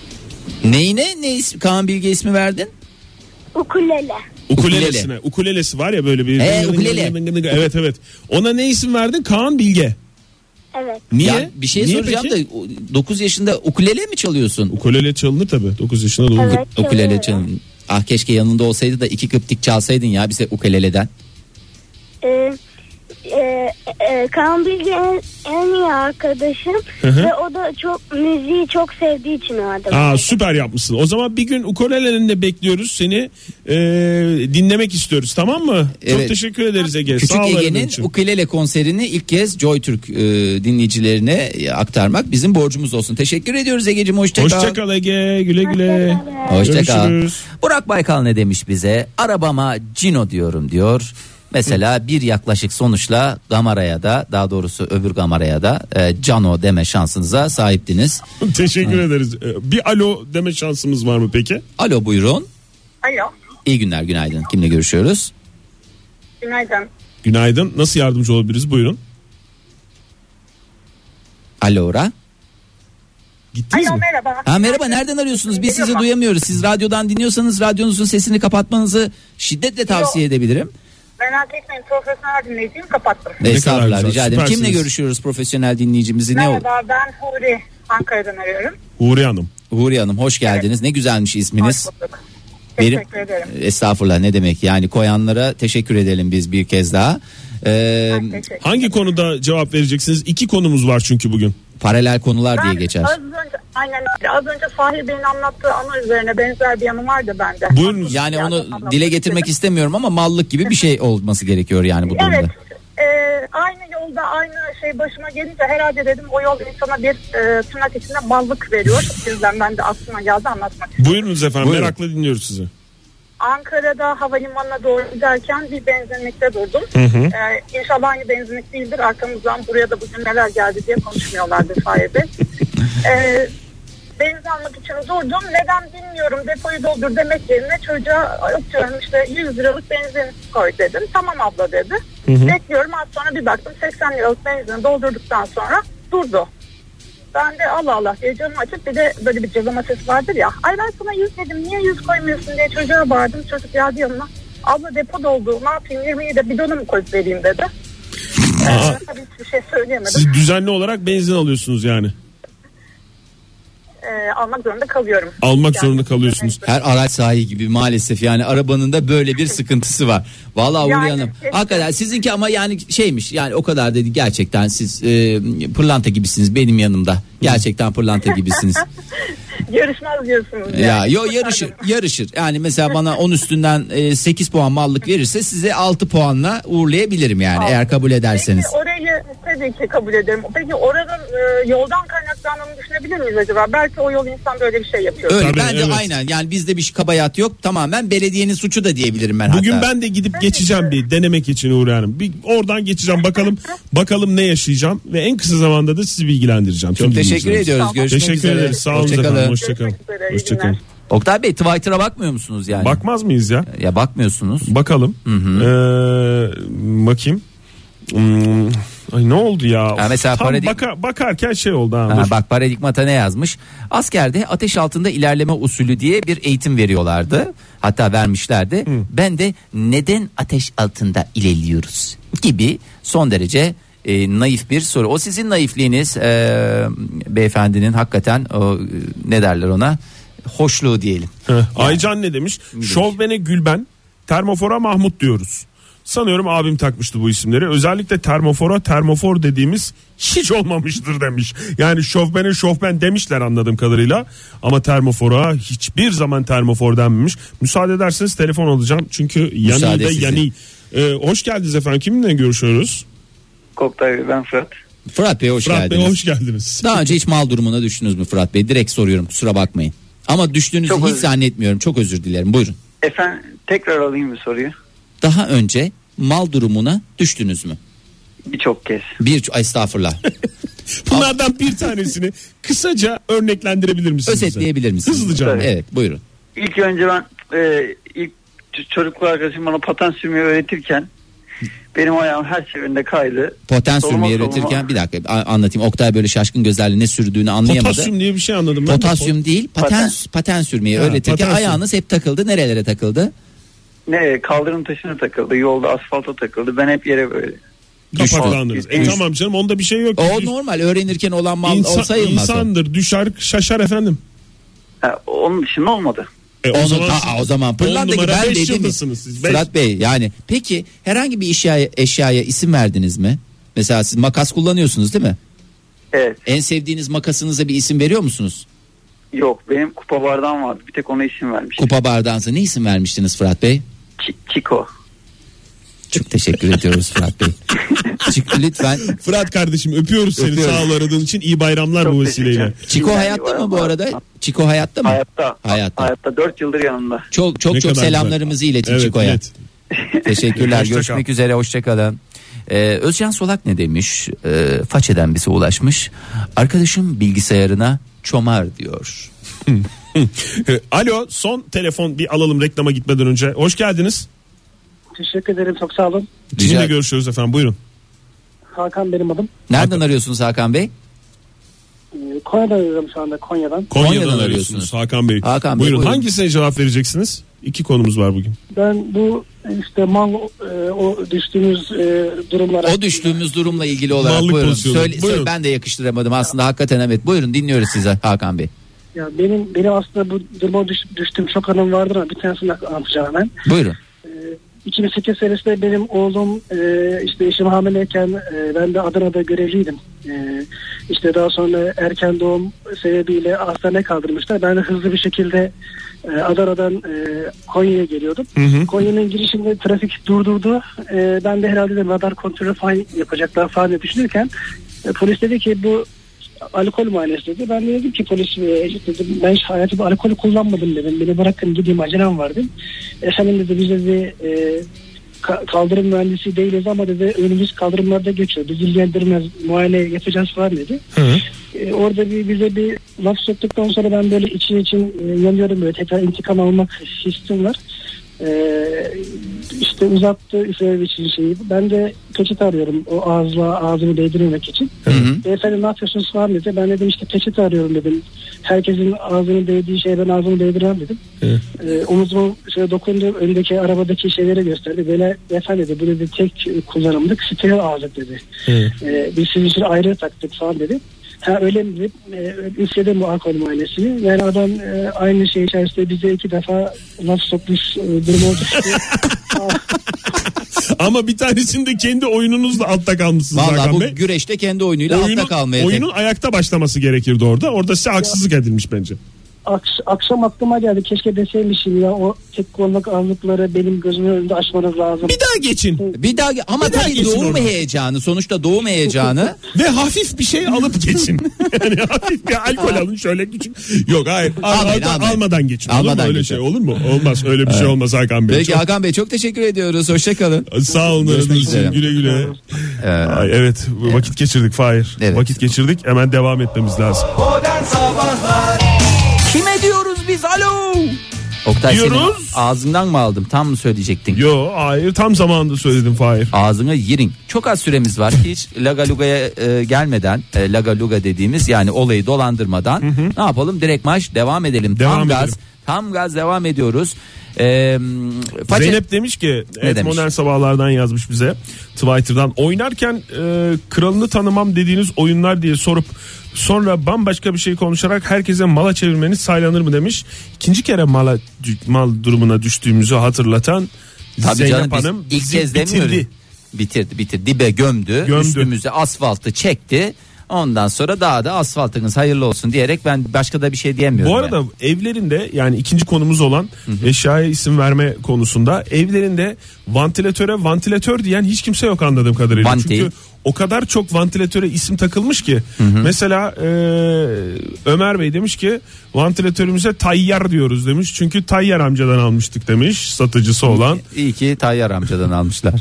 Speaker 2: Neyine ne ismi, Kaan Bilge ismi verdin?
Speaker 7: Ukulele.
Speaker 3: Ukulelesine. Ukulelesi var ya böyle bir...
Speaker 2: Ee, ukulele.
Speaker 3: Evet evet. Ona ne isim verdin? Kaan Bilge.
Speaker 7: Evet.
Speaker 3: Niye?
Speaker 2: Ya bir şey
Speaker 3: Niye
Speaker 2: soracağım
Speaker 3: peki?
Speaker 2: da 9 yaşında ukulele mi çalıyorsun?
Speaker 3: Ukulele çalınır tabii. 9 yaşında doğdu.
Speaker 7: Evet.
Speaker 2: Ukulele
Speaker 7: çalıyorum.
Speaker 2: çalın. Ah keşke yanında olsaydı da iki kıptik çalsaydın ya bize ukuleleden.
Speaker 7: Ee, e, e, Kaan Bilge en, en iyi arkadaşım
Speaker 3: hı.
Speaker 7: ve o da çok müziği çok sevdiği için o adam.
Speaker 3: Aa süper yapmışsın. O zaman bir gün ukulelenin de bekliyoruz seni. Ee, dinlemek istiyoruz tamam mı?
Speaker 2: Evet.
Speaker 3: Çok teşekkür ederiz Ege.
Speaker 2: Küçük
Speaker 3: E, Sağ ol aradığın
Speaker 2: Ege'nin
Speaker 3: için.
Speaker 2: ukulele konserini ilk kez JoyTürk e, dinleyicilerine e, aktarmak bizim borcumuz olsun. Teşekkür ediyoruz Ege'cim hoşça kal.
Speaker 3: Hoşça kal Ege. Güle güle.
Speaker 2: Hoşça kal.
Speaker 3: Görüşürüz.
Speaker 2: Burak Baykal ne demiş bize? Arabama Cino diyorum diyor. Mesela bir yaklaşık sonuçla Gamara'ya da daha doğrusu öbür Gamara'ya da e, Cano deme şansınıza sahiptiniz.
Speaker 3: Teşekkür ederiz. Ee, Bir alo deme şansımız var mı peki?
Speaker 2: Alo buyurun.
Speaker 6: Alo.
Speaker 2: İyi günler günaydın. Kimle görüşüyoruz?
Speaker 6: Günaydın.
Speaker 3: Günaydın. Nasıl yardımcı olabiliriz? Buyurun.
Speaker 2: Alo Ora.
Speaker 3: Gittiniz mi?
Speaker 6: merhaba.
Speaker 2: Ha merhaba nereden arıyorsunuz? Biz sizi
Speaker 6: Geliyor mu?
Speaker 2: duyamıyoruz. Siz radyodan dinliyorsanız radyonuzun sesini kapatmanızı şiddetle tavsiye edebilirim.
Speaker 6: Merak etmeyin profesyonel dinleyiciyim kapattım.
Speaker 2: Ne Estağfurullah
Speaker 3: güzel,
Speaker 2: rica ederim.
Speaker 3: süpersiniz.
Speaker 2: Kimle görüşüyoruz profesyonel dinleyicimizi? Ne oldu?
Speaker 6: Merhaba ben Huri Ankara'dan arıyorum.
Speaker 3: Huri Hanım.
Speaker 2: Huriye Hanım hoş geldiniz. Ne güzelmiş
Speaker 6: Hoş
Speaker 2: isminiz.
Speaker 6: bulduk.
Speaker 2: Benim-
Speaker 6: Teşekkür ederim.
Speaker 2: Estağfurullah ne demek yani koyanlara teşekkür edelim biz bir kez daha. Ee,
Speaker 6: Teşekkür.
Speaker 3: Hangi konuda cevap vereceksiniz? İiki konumuz var çünkü bugün.
Speaker 2: paralel konular diye
Speaker 6: Ben
Speaker 2: geçer.
Speaker 6: Az önce, aynen öyle. Az önce Fahri Bey'in anlattığı anı üzerine benzer bir yanı vardı bende.
Speaker 3: Buyurunuz.
Speaker 2: Yani
Speaker 6: Yani
Speaker 2: onu
Speaker 6: anlatmak
Speaker 2: dile getirmek
Speaker 6: istedim.
Speaker 2: istemiyorum ama mallık gibi bir şey olması gerekiyor yani bu durumda.
Speaker 6: Evet. e, aynı yolda aynı şey başıma gelince herhalde dedim o yol insana bir e, tırnak içinde ballık veriyor. O yüzden ben de aklıma geldi anlatmak.
Speaker 3: Buyurunuz efendim.
Speaker 2: Buyurun.
Speaker 3: Merakla dinliyoruz sizi.
Speaker 6: Ankara'da havalimanına doğru giderken bir benzinlikte durdum. Ee, inşallah aynı benzinlik değildir. Arkamızdan buraya da bugün neler geldi diye konuşmuyorlardı sahibi. ee, benzin almak için durdum. Neden bilmiyorum depoyu doldur demek yerine çocuğa atıyorum işte 100 liralık benzin koy dedim. Tamam abla dedi. Bekliyorum az sonra bir baktım 80 liralık benzini doldurduktan sonra durdu. Ben de Allah Allah diye camı açıp bir de böyle bir cızlama sesi vardır ya. Ay ben sana yüz dedim niye yüz koymuyorsun diye çocuğa bağırdım. Çocuk geldi yanıma. Abla depo doldu ne yapayım 20'yi de bidonu mu koyup vereyim dedi. Ee, Tabii hiçbir şey söyleyemedim.
Speaker 3: Siz düzenli olarak benzin alıyorsunuz yani.
Speaker 6: Ee, almak zorunda kalıyorum.
Speaker 3: Almak
Speaker 6: Yani-
Speaker 3: zorunda kalıyorsunuz.
Speaker 2: Her araç sahibi gibi maalesef yani arabanın da böyle bir sıkıntısı var. Vallahi Hulya
Speaker 6: Yani
Speaker 2: Hanım.
Speaker 6: keşke.
Speaker 2: Hakikaten sizinki ama yani şeymiş yani o kadar dedi gerçekten siz e, pırlanta gibisiniz benim yanımda. Gerçekten pırlanta gibisiniz.
Speaker 6: Yarışmaz diyorsunuz.
Speaker 2: ya
Speaker 6: yani.
Speaker 2: yo yarışır yarışır. Yani mesela bana 10 üstünden e, 8 puan mallık verirse size 6 puanla uğurlayabilirim yani eğer kabul ederseniz.
Speaker 6: Peki orayı tabii ki kabul ederim. Peki oranın e, yoldan kaynaklandığını düşünebilir miyiz acaba? Belki o yol insan böyle bir şey yapıyor.
Speaker 2: Öyle
Speaker 3: Tabii,
Speaker 2: bence
Speaker 3: evet.
Speaker 2: aynen. Yani bizde bir kabayat yok. Tamamen belediyenin suçu da diyebilirim ben
Speaker 3: Bugün
Speaker 2: hatta.
Speaker 3: ben de gidip geçeceğim bir denemek için Uğur Hanım. Bir oradan geçeceğim bakalım bakalım ne yaşayacağım ve en kısa zamanda da sizi bilgilendireceğim. Tüm
Speaker 2: çok teşekkür
Speaker 3: dinleyicilerimize.
Speaker 2: ediyoruz. Görüşmek
Speaker 3: Teşekkür
Speaker 2: üzere.
Speaker 3: ederiz. Sağ olun
Speaker 2: Hoşçakalın.
Speaker 3: efendim. Hoşçakalın.
Speaker 6: Görüşmek üzere, iyi
Speaker 3: Hoşçakalın.
Speaker 6: günler.
Speaker 2: Oktay Bey Twitter'a bakmıyor musunuz yani?
Speaker 3: Bakmaz mıyız ya?
Speaker 2: Ya bakmıyorsunuz.
Speaker 3: Bakalım. Ee, bakayım. Hmm, Ay ne oldu ya?
Speaker 2: Ha, mesela
Speaker 3: Tam
Speaker 2: paradig-
Speaker 3: baka- bakarken şey oldu ha.
Speaker 2: Ha,
Speaker 3: dur.
Speaker 2: bak paradigmata ne yazmış? Askerde ateş altında ilerleme usulü diye bir eğitim veriyorlardı. Hatta vermişlerdi. Ben de neden ateş altında ilerliyoruz gibi son derece e, naif bir soru. O sizin naifliğiniz e, beyefendinin hakikaten o, e, ne derler ona hoşluğu diyelim.
Speaker 3: Heh, Aycan ne demiş? Şovbene Gülben, termofora Mahmut diyoruz. Sanıyorum abim takmıştı bu isimleri. Özellikle termofora termofor dediğimiz hiç olmamıştır demiş. Yani şofbene şofben demişler anladığım kadarıyla. Ama termofora hiçbir zaman termofor denmemiş. Müsaade ederseniz telefon alacağım. Çünkü yanı
Speaker 2: Müsaade
Speaker 3: da
Speaker 2: sizin.
Speaker 3: yani. Ee, hoş geldiniz efendim. Kiminle görüşüyoruz?
Speaker 8: Koktay Bey, ben Fırat.
Speaker 2: Fırat Bey hoş
Speaker 3: Fırat
Speaker 2: geldiniz.
Speaker 3: Bey hoş geldiniz.
Speaker 2: Daha önce hiç mal durumuna düştünüz mü Fırat Bey? Direkt soruyorum kusura bakmayın. Ama düştüğünüzü
Speaker 8: Çok
Speaker 2: hiç
Speaker 8: özür-
Speaker 2: zannetmiyorum. Çok özür dilerim. Buyurun.
Speaker 8: Efendim tekrar alayım bir soruyu.
Speaker 2: Daha önce mal durumuna düştünüz mü?
Speaker 8: Birçok kez.
Speaker 2: Bir ay, estağfurullah.
Speaker 3: Bunlardan bir tanesini kısaca örneklendirebilir misiniz? bize?
Speaker 2: Özetleyebilir misiniz?
Speaker 3: Hızlıca.
Speaker 8: Tabii.
Speaker 2: Evet buyurun.
Speaker 8: İlk önce ben e, ilk ç- çocukluk arkadaşım bana paten sürmeyi öğretirken benim ayağım her seferinde kaydı.
Speaker 2: Poten
Speaker 8: Soluma
Speaker 2: sürmeyi
Speaker 8: soluma-
Speaker 2: üretirken bir dakika a- anlatayım. Oktay böyle şaşkın gözlerle ne sürdüğünü anlayamadı.
Speaker 3: Potasyum diye bir şey anladım. ben de.
Speaker 2: Potasyum değil paten, paten,
Speaker 8: Paten.
Speaker 2: sürmeyi
Speaker 3: Ha,
Speaker 2: öğretirken
Speaker 3: paten sür-
Speaker 2: ayağınız hep takıldı. Nerelere takıldı?
Speaker 8: Ne kaldırım taşına takıldı, yolda asfalta takıldı. Ben hep yere böyle.
Speaker 3: Kapaklandınız. E,
Speaker 8: Düşman.
Speaker 3: tamam canım onda bir şey yok.
Speaker 2: O normal öğrenirken olan mal
Speaker 3: İnsan-
Speaker 2: o sayılmaz. o.
Speaker 3: insandır düşer şaşar efendim.
Speaker 8: Ha, onun dışında olmadı.
Speaker 3: E,
Speaker 2: Onu ta- o zaman pırlanta gibi ben
Speaker 3: beş
Speaker 2: dedim.
Speaker 3: yıldızsınız siz. Beş-
Speaker 2: Fırat Bey yani peki herhangi bir eşyaya, eşyaya isim verdiniz mi? Mesela siz makas kullanıyorsunuz değil mi?
Speaker 8: Evet
Speaker 2: En sevdiğiniz makasınıza bir isim veriyor musunuz?
Speaker 8: yok benim kupa bardağım vardı. Bir tek ona isim vermiş.
Speaker 2: Kupa bardağınıza ne isim vermiştiniz Fırat Bey?
Speaker 8: Ç- Çiko.
Speaker 2: Çok teşekkür ediyoruz Fırat Bey. Çık, lütfen.
Speaker 3: Fırat kardeşim öpüyoruz seni
Speaker 2: Öpüyorum.
Speaker 3: sağ ol aradığın için iyi bayramlar
Speaker 8: Çok
Speaker 3: bu
Speaker 8: teşekkür
Speaker 3: vesileyle.
Speaker 8: ederim.
Speaker 2: Çiko
Speaker 8: İyi
Speaker 2: hayatta mı bu
Speaker 8: bayramlar.
Speaker 2: arada? Çiko hayatta mı?
Speaker 8: Hayatta.
Speaker 2: Hayatta.
Speaker 8: Hayatta 4 yıldır yanımda.
Speaker 2: Çok çok
Speaker 3: Ne
Speaker 2: çok
Speaker 3: kadar
Speaker 2: selamlarımızı
Speaker 3: güzel.
Speaker 2: iletin
Speaker 3: Evet,
Speaker 2: Çiko'ya.
Speaker 3: evet.
Speaker 2: Teşekkürler.
Speaker 3: Hoşça kal.
Speaker 2: Görüşmek üzere. Hoşçakalın. Ee, Özcan Solak ne demiş? Ee, façeden bize ulaşmış. Arkadaşım bilgisayarına çomar diyor.
Speaker 3: E, Alo son telefon bir alalım reklama gitmeden önce. Hoş geldiniz.
Speaker 9: Teşekkür ederim çok sağ olun.
Speaker 2: Rica-
Speaker 3: Kiminle görüşüyoruz efendim buyurun.
Speaker 9: Hakan benim adım.
Speaker 2: Nereden arıyorsunuz Hakan Bey?
Speaker 9: Ee, Konya'dan arıyorum şu anda Konya'dan.
Speaker 3: Konya'dan,
Speaker 2: Konya'dan
Speaker 3: arıyorsunuz
Speaker 2: arıyorsunuz.
Speaker 3: Hakan Bey.
Speaker 2: Hakan Bey,
Speaker 3: buyurun.
Speaker 2: buyurun.
Speaker 3: hangisine cevap vereceksiniz? İki konumuz var bugün.
Speaker 9: Ben bu işte mal e, o düştüğümüz e, durumlara...
Speaker 2: O düştüğümüz durumla ilgili olarak
Speaker 3: Mallık
Speaker 2: buyurun.
Speaker 3: pozisyonu.
Speaker 2: Söyle,
Speaker 3: Buyurun.
Speaker 2: söyle- ben de yakıştıramadım aslında hakikaten evet. Buyurun dinliyoruz sizi Hakan Bey.
Speaker 9: Ya benim benim aslında bu duruma düş, düştüğüm çok anım vardır ama bir tanesini anlatacağım hemen.
Speaker 2: Buyurun.
Speaker 9: E, 2008 senesinde benim oğlum e, işte eşim hamileyken e, ben de Adana'da görevliydim. E, işte daha sonra erken doğum sebebiyle hastaneye kaldırmışlar. Ben de hızlı bir şekilde e, Adana'dan e, Konya'ya geliyordum. Konya'nın girişinde trafik durdurdu. E, ben de herhalde de radar kontrolü falan yapacaklar falan diye düşünürken e, polis dedi ki bu alkol muayenesi dedi. Ben de dedim ki polis e, dedim, ben hiç hayatımda alkol kullanmadım dedim. Beni bırakın gideyim acelem var dedim. Efendim dedi biz dedi e, ka- kaldırım mühendisi değiliz ama dedi önümüz kaldırımlarda geçiyor. Bizi ilgilendirmez muayene yapacağız falan dedi. E, orada bir bize bir laf soktuktan sonra ben böyle için için e, yanıyorum böyle tekrar intikam almak hissim var. Ee, işte uzattı üfleme için şeyi. Ben de peçete arıyorum o ağızla ağzını değdirmemek için. Beyefendi ne yapıyorsunuz falan dedi. Ben dedim işte peçete arıyorum dedim. Herkesin ağzını değdiği şeye ben ağzımı değdirmem dedim. Ee, omuzuma şöyle dokundu. Öndeki arabadaki şeyleri gösterdi. Böyle beyefendi dedi bu dedi tek kullanımlık stereo ağızlık dedi. Ee, biz sizin için ayrı taktık falan dedi. Ha öyle mi deyip e, üfledim bu alkol muayenesini. Yani adam e, aynı şey içerisinde bize iki defa laf sokmuş e, durumu oluştu.
Speaker 3: Ama bir tanesinde kendi oyununuzla altta kalmışsınız
Speaker 2: Vallahi
Speaker 3: Hakan
Speaker 2: bu
Speaker 3: Bey.
Speaker 2: güreşte kendi oyunuyla
Speaker 3: Oyunun-
Speaker 2: altta kalmaya.
Speaker 3: oyunun ayakta başlaması gerekirdi orada. Orada size haksızlık edilmiş bence.
Speaker 9: Aks- akşam aklıma geldi keşke deseymişim ya o tek kolluk ağırlıkları benim gözümün önünde açmanız lazım.
Speaker 10: Bir daha geçin.
Speaker 2: Bir daha ge- ama
Speaker 10: Bir daha
Speaker 2: tabii
Speaker 10: geçin
Speaker 2: doğum
Speaker 10: oradan.
Speaker 2: heyecanı sonuçta doğum heyecanı
Speaker 10: Ve hafif bir şey alıp
Speaker 3: Geçin. yani hafif bir alkol alın şöyle küçük. Yok hayır. Al-
Speaker 2: Almayın,
Speaker 3: al-
Speaker 2: almayın.
Speaker 3: Almadan geçin. olur mu
Speaker 2: Almadan
Speaker 3: öyle
Speaker 2: geçin.
Speaker 3: şey olur mu? Olmaz öyle bir şey olmaz Hakan Bey.
Speaker 2: Peki
Speaker 3: Çok-
Speaker 2: Hakan Bey çok teşekkür ediyoruz. Hoşçakalın.
Speaker 3: Sağ olun
Speaker 2: Görüşmek
Speaker 3: aranız için
Speaker 2: üzere.
Speaker 3: güle güle.
Speaker 2: Ee,
Speaker 3: Ay, evet vakit geçirdik Fahir.
Speaker 2: Evet.
Speaker 3: Vakit geçirdik hemen devam etmemiz lazım.
Speaker 1: Modern Sabahlar
Speaker 2: Kime diyoruz biz? Alo. Oktay senin
Speaker 3: Diyoruz.
Speaker 2: ağzından mı aldım? Tam mı söyleyecektin?
Speaker 3: Yo hayır tam zamanında söyledim Fahir.
Speaker 2: Ağzına yirin. Çok az süremiz var. Hiç Laga Luga'ya e, gelmeden, e, Laga Luga dediğimiz yani olayı dolandırmadan ne yapalım? Direkt maç devam edelim.
Speaker 3: Devam
Speaker 2: tam gaz,
Speaker 3: edelim.
Speaker 2: tam gaz devam ediyoruz. E, m, Paçe-
Speaker 3: Zeynep demiş ki evet,
Speaker 2: demiş?
Speaker 3: modern sabahlardan yazmış bize Twitter'dan oynarken e, kralını tanımam dediğiniz oyunlar diye sorup sonra bambaşka bir şey konuşarak herkese mala çevirmeniz saylanır mı demiş. İkinci kere mala dü- mal durumuna düştüğümüzü hatırlatan
Speaker 2: Tabii
Speaker 3: Zeynep
Speaker 2: canım, biz
Speaker 3: Hanım
Speaker 2: ilk
Speaker 3: bizi
Speaker 2: kez demiyoruz.
Speaker 3: bitirdi.
Speaker 2: Bitirdi. bitirdi dibe gömdü,
Speaker 3: Gömdü.
Speaker 2: üstümüze asfaltı çekti. Ondan sonra daha da asfaltınız hayırlı olsun diyerek ben başka da bir şey diyemiyorum.
Speaker 3: Bu
Speaker 2: yani.
Speaker 3: arada evlerinde yani ikinci konumuz olan eşyaya isim verme konusunda evlerinde vantilatöre vantilatör diyen hiç kimse yok anladığım kadarıyla.
Speaker 2: Vanti.
Speaker 3: Çünkü o kadar çok vantilatöre isim takılmış ki mesela e, Ömer Bey demiş ki vantilatörümüze tayyar diyoruz demiş. Çünkü tayyar amcadan almıştık demiş satıcısı olan.
Speaker 2: İyi ki Tayyar amcadan almışlar.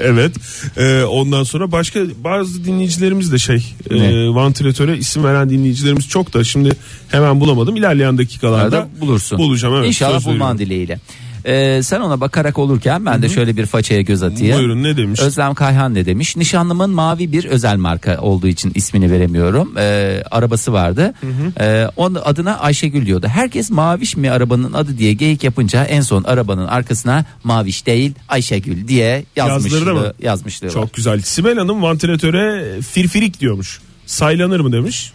Speaker 3: Evet. Ee, ondan sonra başka bazı dinleyicilerimiz de şey e,
Speaker 2: Ne?
Speaker 3: vantilatöre isim veren dinleyicilerimiz çok da şimdi hemen bulamadım. İlerleyen dakikalarda
Speaker 2: Arada bulursun.
Speaker 3: Bulacağım evet.
Speaker 2: İnşallah
Speaker 3: Söz veriyorum.
Speaker 2: bulman dileğiyle. Ee, sen ona bakarak olurken ben de şöyle bir façaya göz atayım.
Speaker 3: Buyurun ne demiş?
Speaker 2: Özlem Kayhan ne demiş? Nişanlımın mavi bir özel marka olduğu için ismini veremiyorum. Ee, arabası vardı. Ee, onun adına Ayşegül diyordu. Herkes maviş mi arabanın adı diye geyik yapınca en son arabanın arkasına maviş değil Ayşegül diye yazmış.
Speaker 3: Yazdırdı mı?
Speaker 2: Yazmışlığı var.
Speaker 3: Çok güzel. Sibel Hanım vantilatöre firfirik diyormuş. Saylanır mı demiş.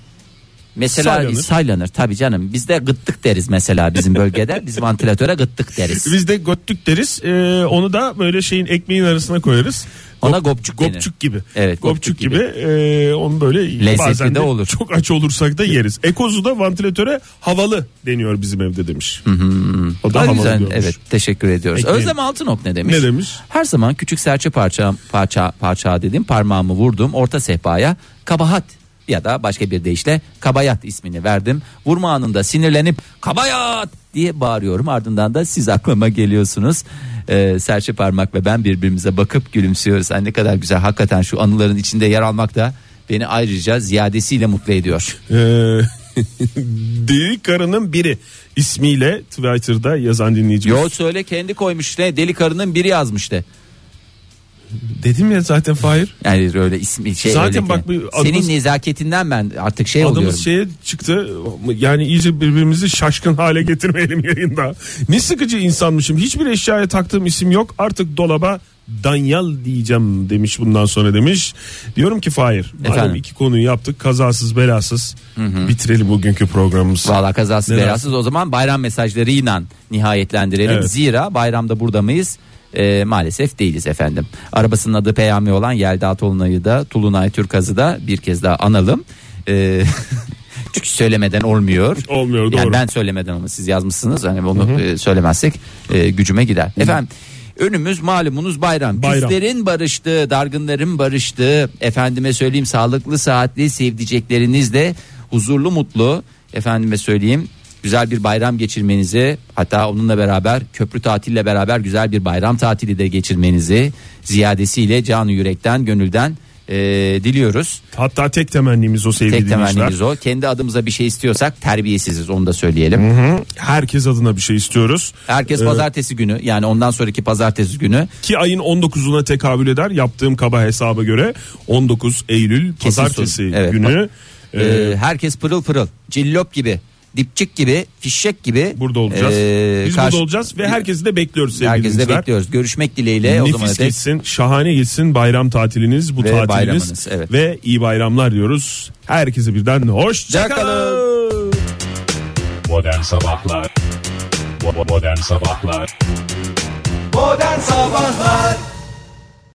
Speaker 2: Mesela
Speaker 3: saylanır.
Speaker 2: saylanır. tabii canım. Biz de gıttık deriz mesela bizim bölgede. Biz vantilatöre gıttık deriz.
Speaker 3: Biz de göttük deriz. Ee, onu da böyle şeyin ekmeğin arasına koyarız.
Speaker 2: Ona
Speaker 3: Gop-
Speaker 2: gopçuk denir.
Speaker 3: Gopçuk gibi.
Speaker 2: Evet,
Speaker 3: Gopçuk
Speaker 2: gopçuk
Speaker 3: gibi.
Speaker 2: gibi.
Speaker 3: Ee, onu böyle
Speaker 2: Lezzetli
Speaker 3: bazen de,
Speaker 2: de olur.
Speaker 3: çok aç olursak da yeriz. Ekozu da vantilatöre havalı deniyor bizim evde demiş. O da
Speaker 2: Daha
Speaker 3: havalı
Speaker 2: güzel.
Speaker 3: diyormuş.
Speaker 2: Evet, teşekkür ediyoruz.
Speaker 3: Ekleyin.
Speaker 2: Özlem Altınok ne demiş?
Speaker 3: Ne demiş?
Speaker 2: Her zaman küçük serçe parça parça parça dedim. Parmağımı vurdum orta sehpaya. Kabahat ya da başka bir deyişle kabayat ismini verdim. Vurma anında sinirlenip kabayat diye bağırıyorum. Ardından da siz aklıma geliyorsunuz. Ee, serçe parmak ve ben birbirimize bakıp gülümsüyoruz. Ay ne kadar güzel. Hakikaten şu anıların içinde yer almak da beni ayrıca ziyadesiyle mutlu ediyor.
Speaker 3: Ee, Deli karının biri ismiyle Twitter'da yazan dinleyicimiz.
Speaker 2: Yo söyle kendi koymuş ne deli karının biri yazmıştı.
Speaker 3: Dedim ya zaten Fahir.
Speaker 2: Yani öyle ismi şey
Speaker 3: Zaten
Speaker 2: öyle-
Speaker 3: bak bir adımız-
Speaker 2: senin nezaketinden ben artık şey oluyorum.
Speaker 3: Adımız şeye çıktı yani iyice birbirimizi şaşkın hale getirmeyelim yayında. Ne sıkıcı insanmışım hiçbir eşyaya taktığım isim yok artık dolaba Danyal diyeceğim demiş bundan sonra demiş. Diyorum ki Fahir madem
Speaker 2: Efendim?
Speaker 3: iki konuyu yaptık kazasız belasız bitirelim bugünkü programımızı.
Speaker 2: Valla kazasız
Speaker 3: Neden?
Speaker 2: belasız o zaman bayram mesajlarıyla nihayetlendirelim.
Speaker 3: Evet.
Speaker 2: Zira bayramda burada mıyız? Ee, maalesef değiliz efendim. Arabasının adı Peyami olan Yelda Tolunay'ı da Tulunay Türkaz'ı da bir kez daha analım. Ee, çünkü söylemeden olmuyor.
Speaker 3: Olmuyor, doğru.
Speaker 2: Yani ben söylemeden ama siz yazmışsınız. Hani onu e, söylemezsek e, gücüme gider. Efendim önümüz malumunuz bayram.
Speaker 3: Bayram.
Speaker 2: Küslerin barıştığı, dargınların barıştığı, efendime söyleyeyim sağlıklı, saatli sevdiceklerinizle huzurlu, mutlu, efendime söyleyeyim güzel bir bayram geçirmenizi hatta onunla beraber köprü tatille beraber güzel bir bayram tatili de geçirmenizi ziyadesiyle canı yürekten gönülden e, diliyoruz.
Speaker 3: Hatta tek temennimiz o sevgili
Speaker 2: Tek temennimiz
Speaker 3: dinleyiciler.
Speaker 2: o. Kendi adımıza bir şey istiyorsak terbiyesiziz onu da söyleyelim.
Speaker 3: Hı hı. Herkes adına bir şey istiyoruz.
Speaker 2: Herkes
Speaker 3: Ee,
Speaker 2: pazartesi günü yani ondan sonraki pazartesi günü e,
Speaker 3: Ki ayın 19'una tekabül eder yaptığım kaba hesaba göre 19 Eylül
Speaker 2: Kesin
Speaker 3: pazartesi
Speaker 2: sorun. Evet,
Speaker 3: günü
Speaker 2: e, herkes pırıl pırıl cillop gibi dipçik gibi fişek gibi
Speaker 3: burada olacağız.
Speaker 2: e,
Speaker 3: Biz
Speaker 2: karşı-
Speaker 3: burada olacağız ve herkesi de bekliyoruz sevgili
Speaker 2: herkesi de
Speaker 3: dinleyiciler.
Speaker 2: bekliyoruz. Görüşmek dileğiyle o zaman
Speaker 3: Nefis
Speaker 2: dek
Speaker 3: geçsin, şahane geçsin bayram tatiliniz, bu
Speaker 2: Ve
Speaker 3: tatiliniz
Speaker 2: bayramınız, evet.
Speaker 3: ve iyi bayramlar diyoruz. Herkese birden hoşçakalın.
Speaker 11: Modern Sabahlar Bo- bo- Modern Sabahlar
Speaker 1: Oh, Modern Sabahlar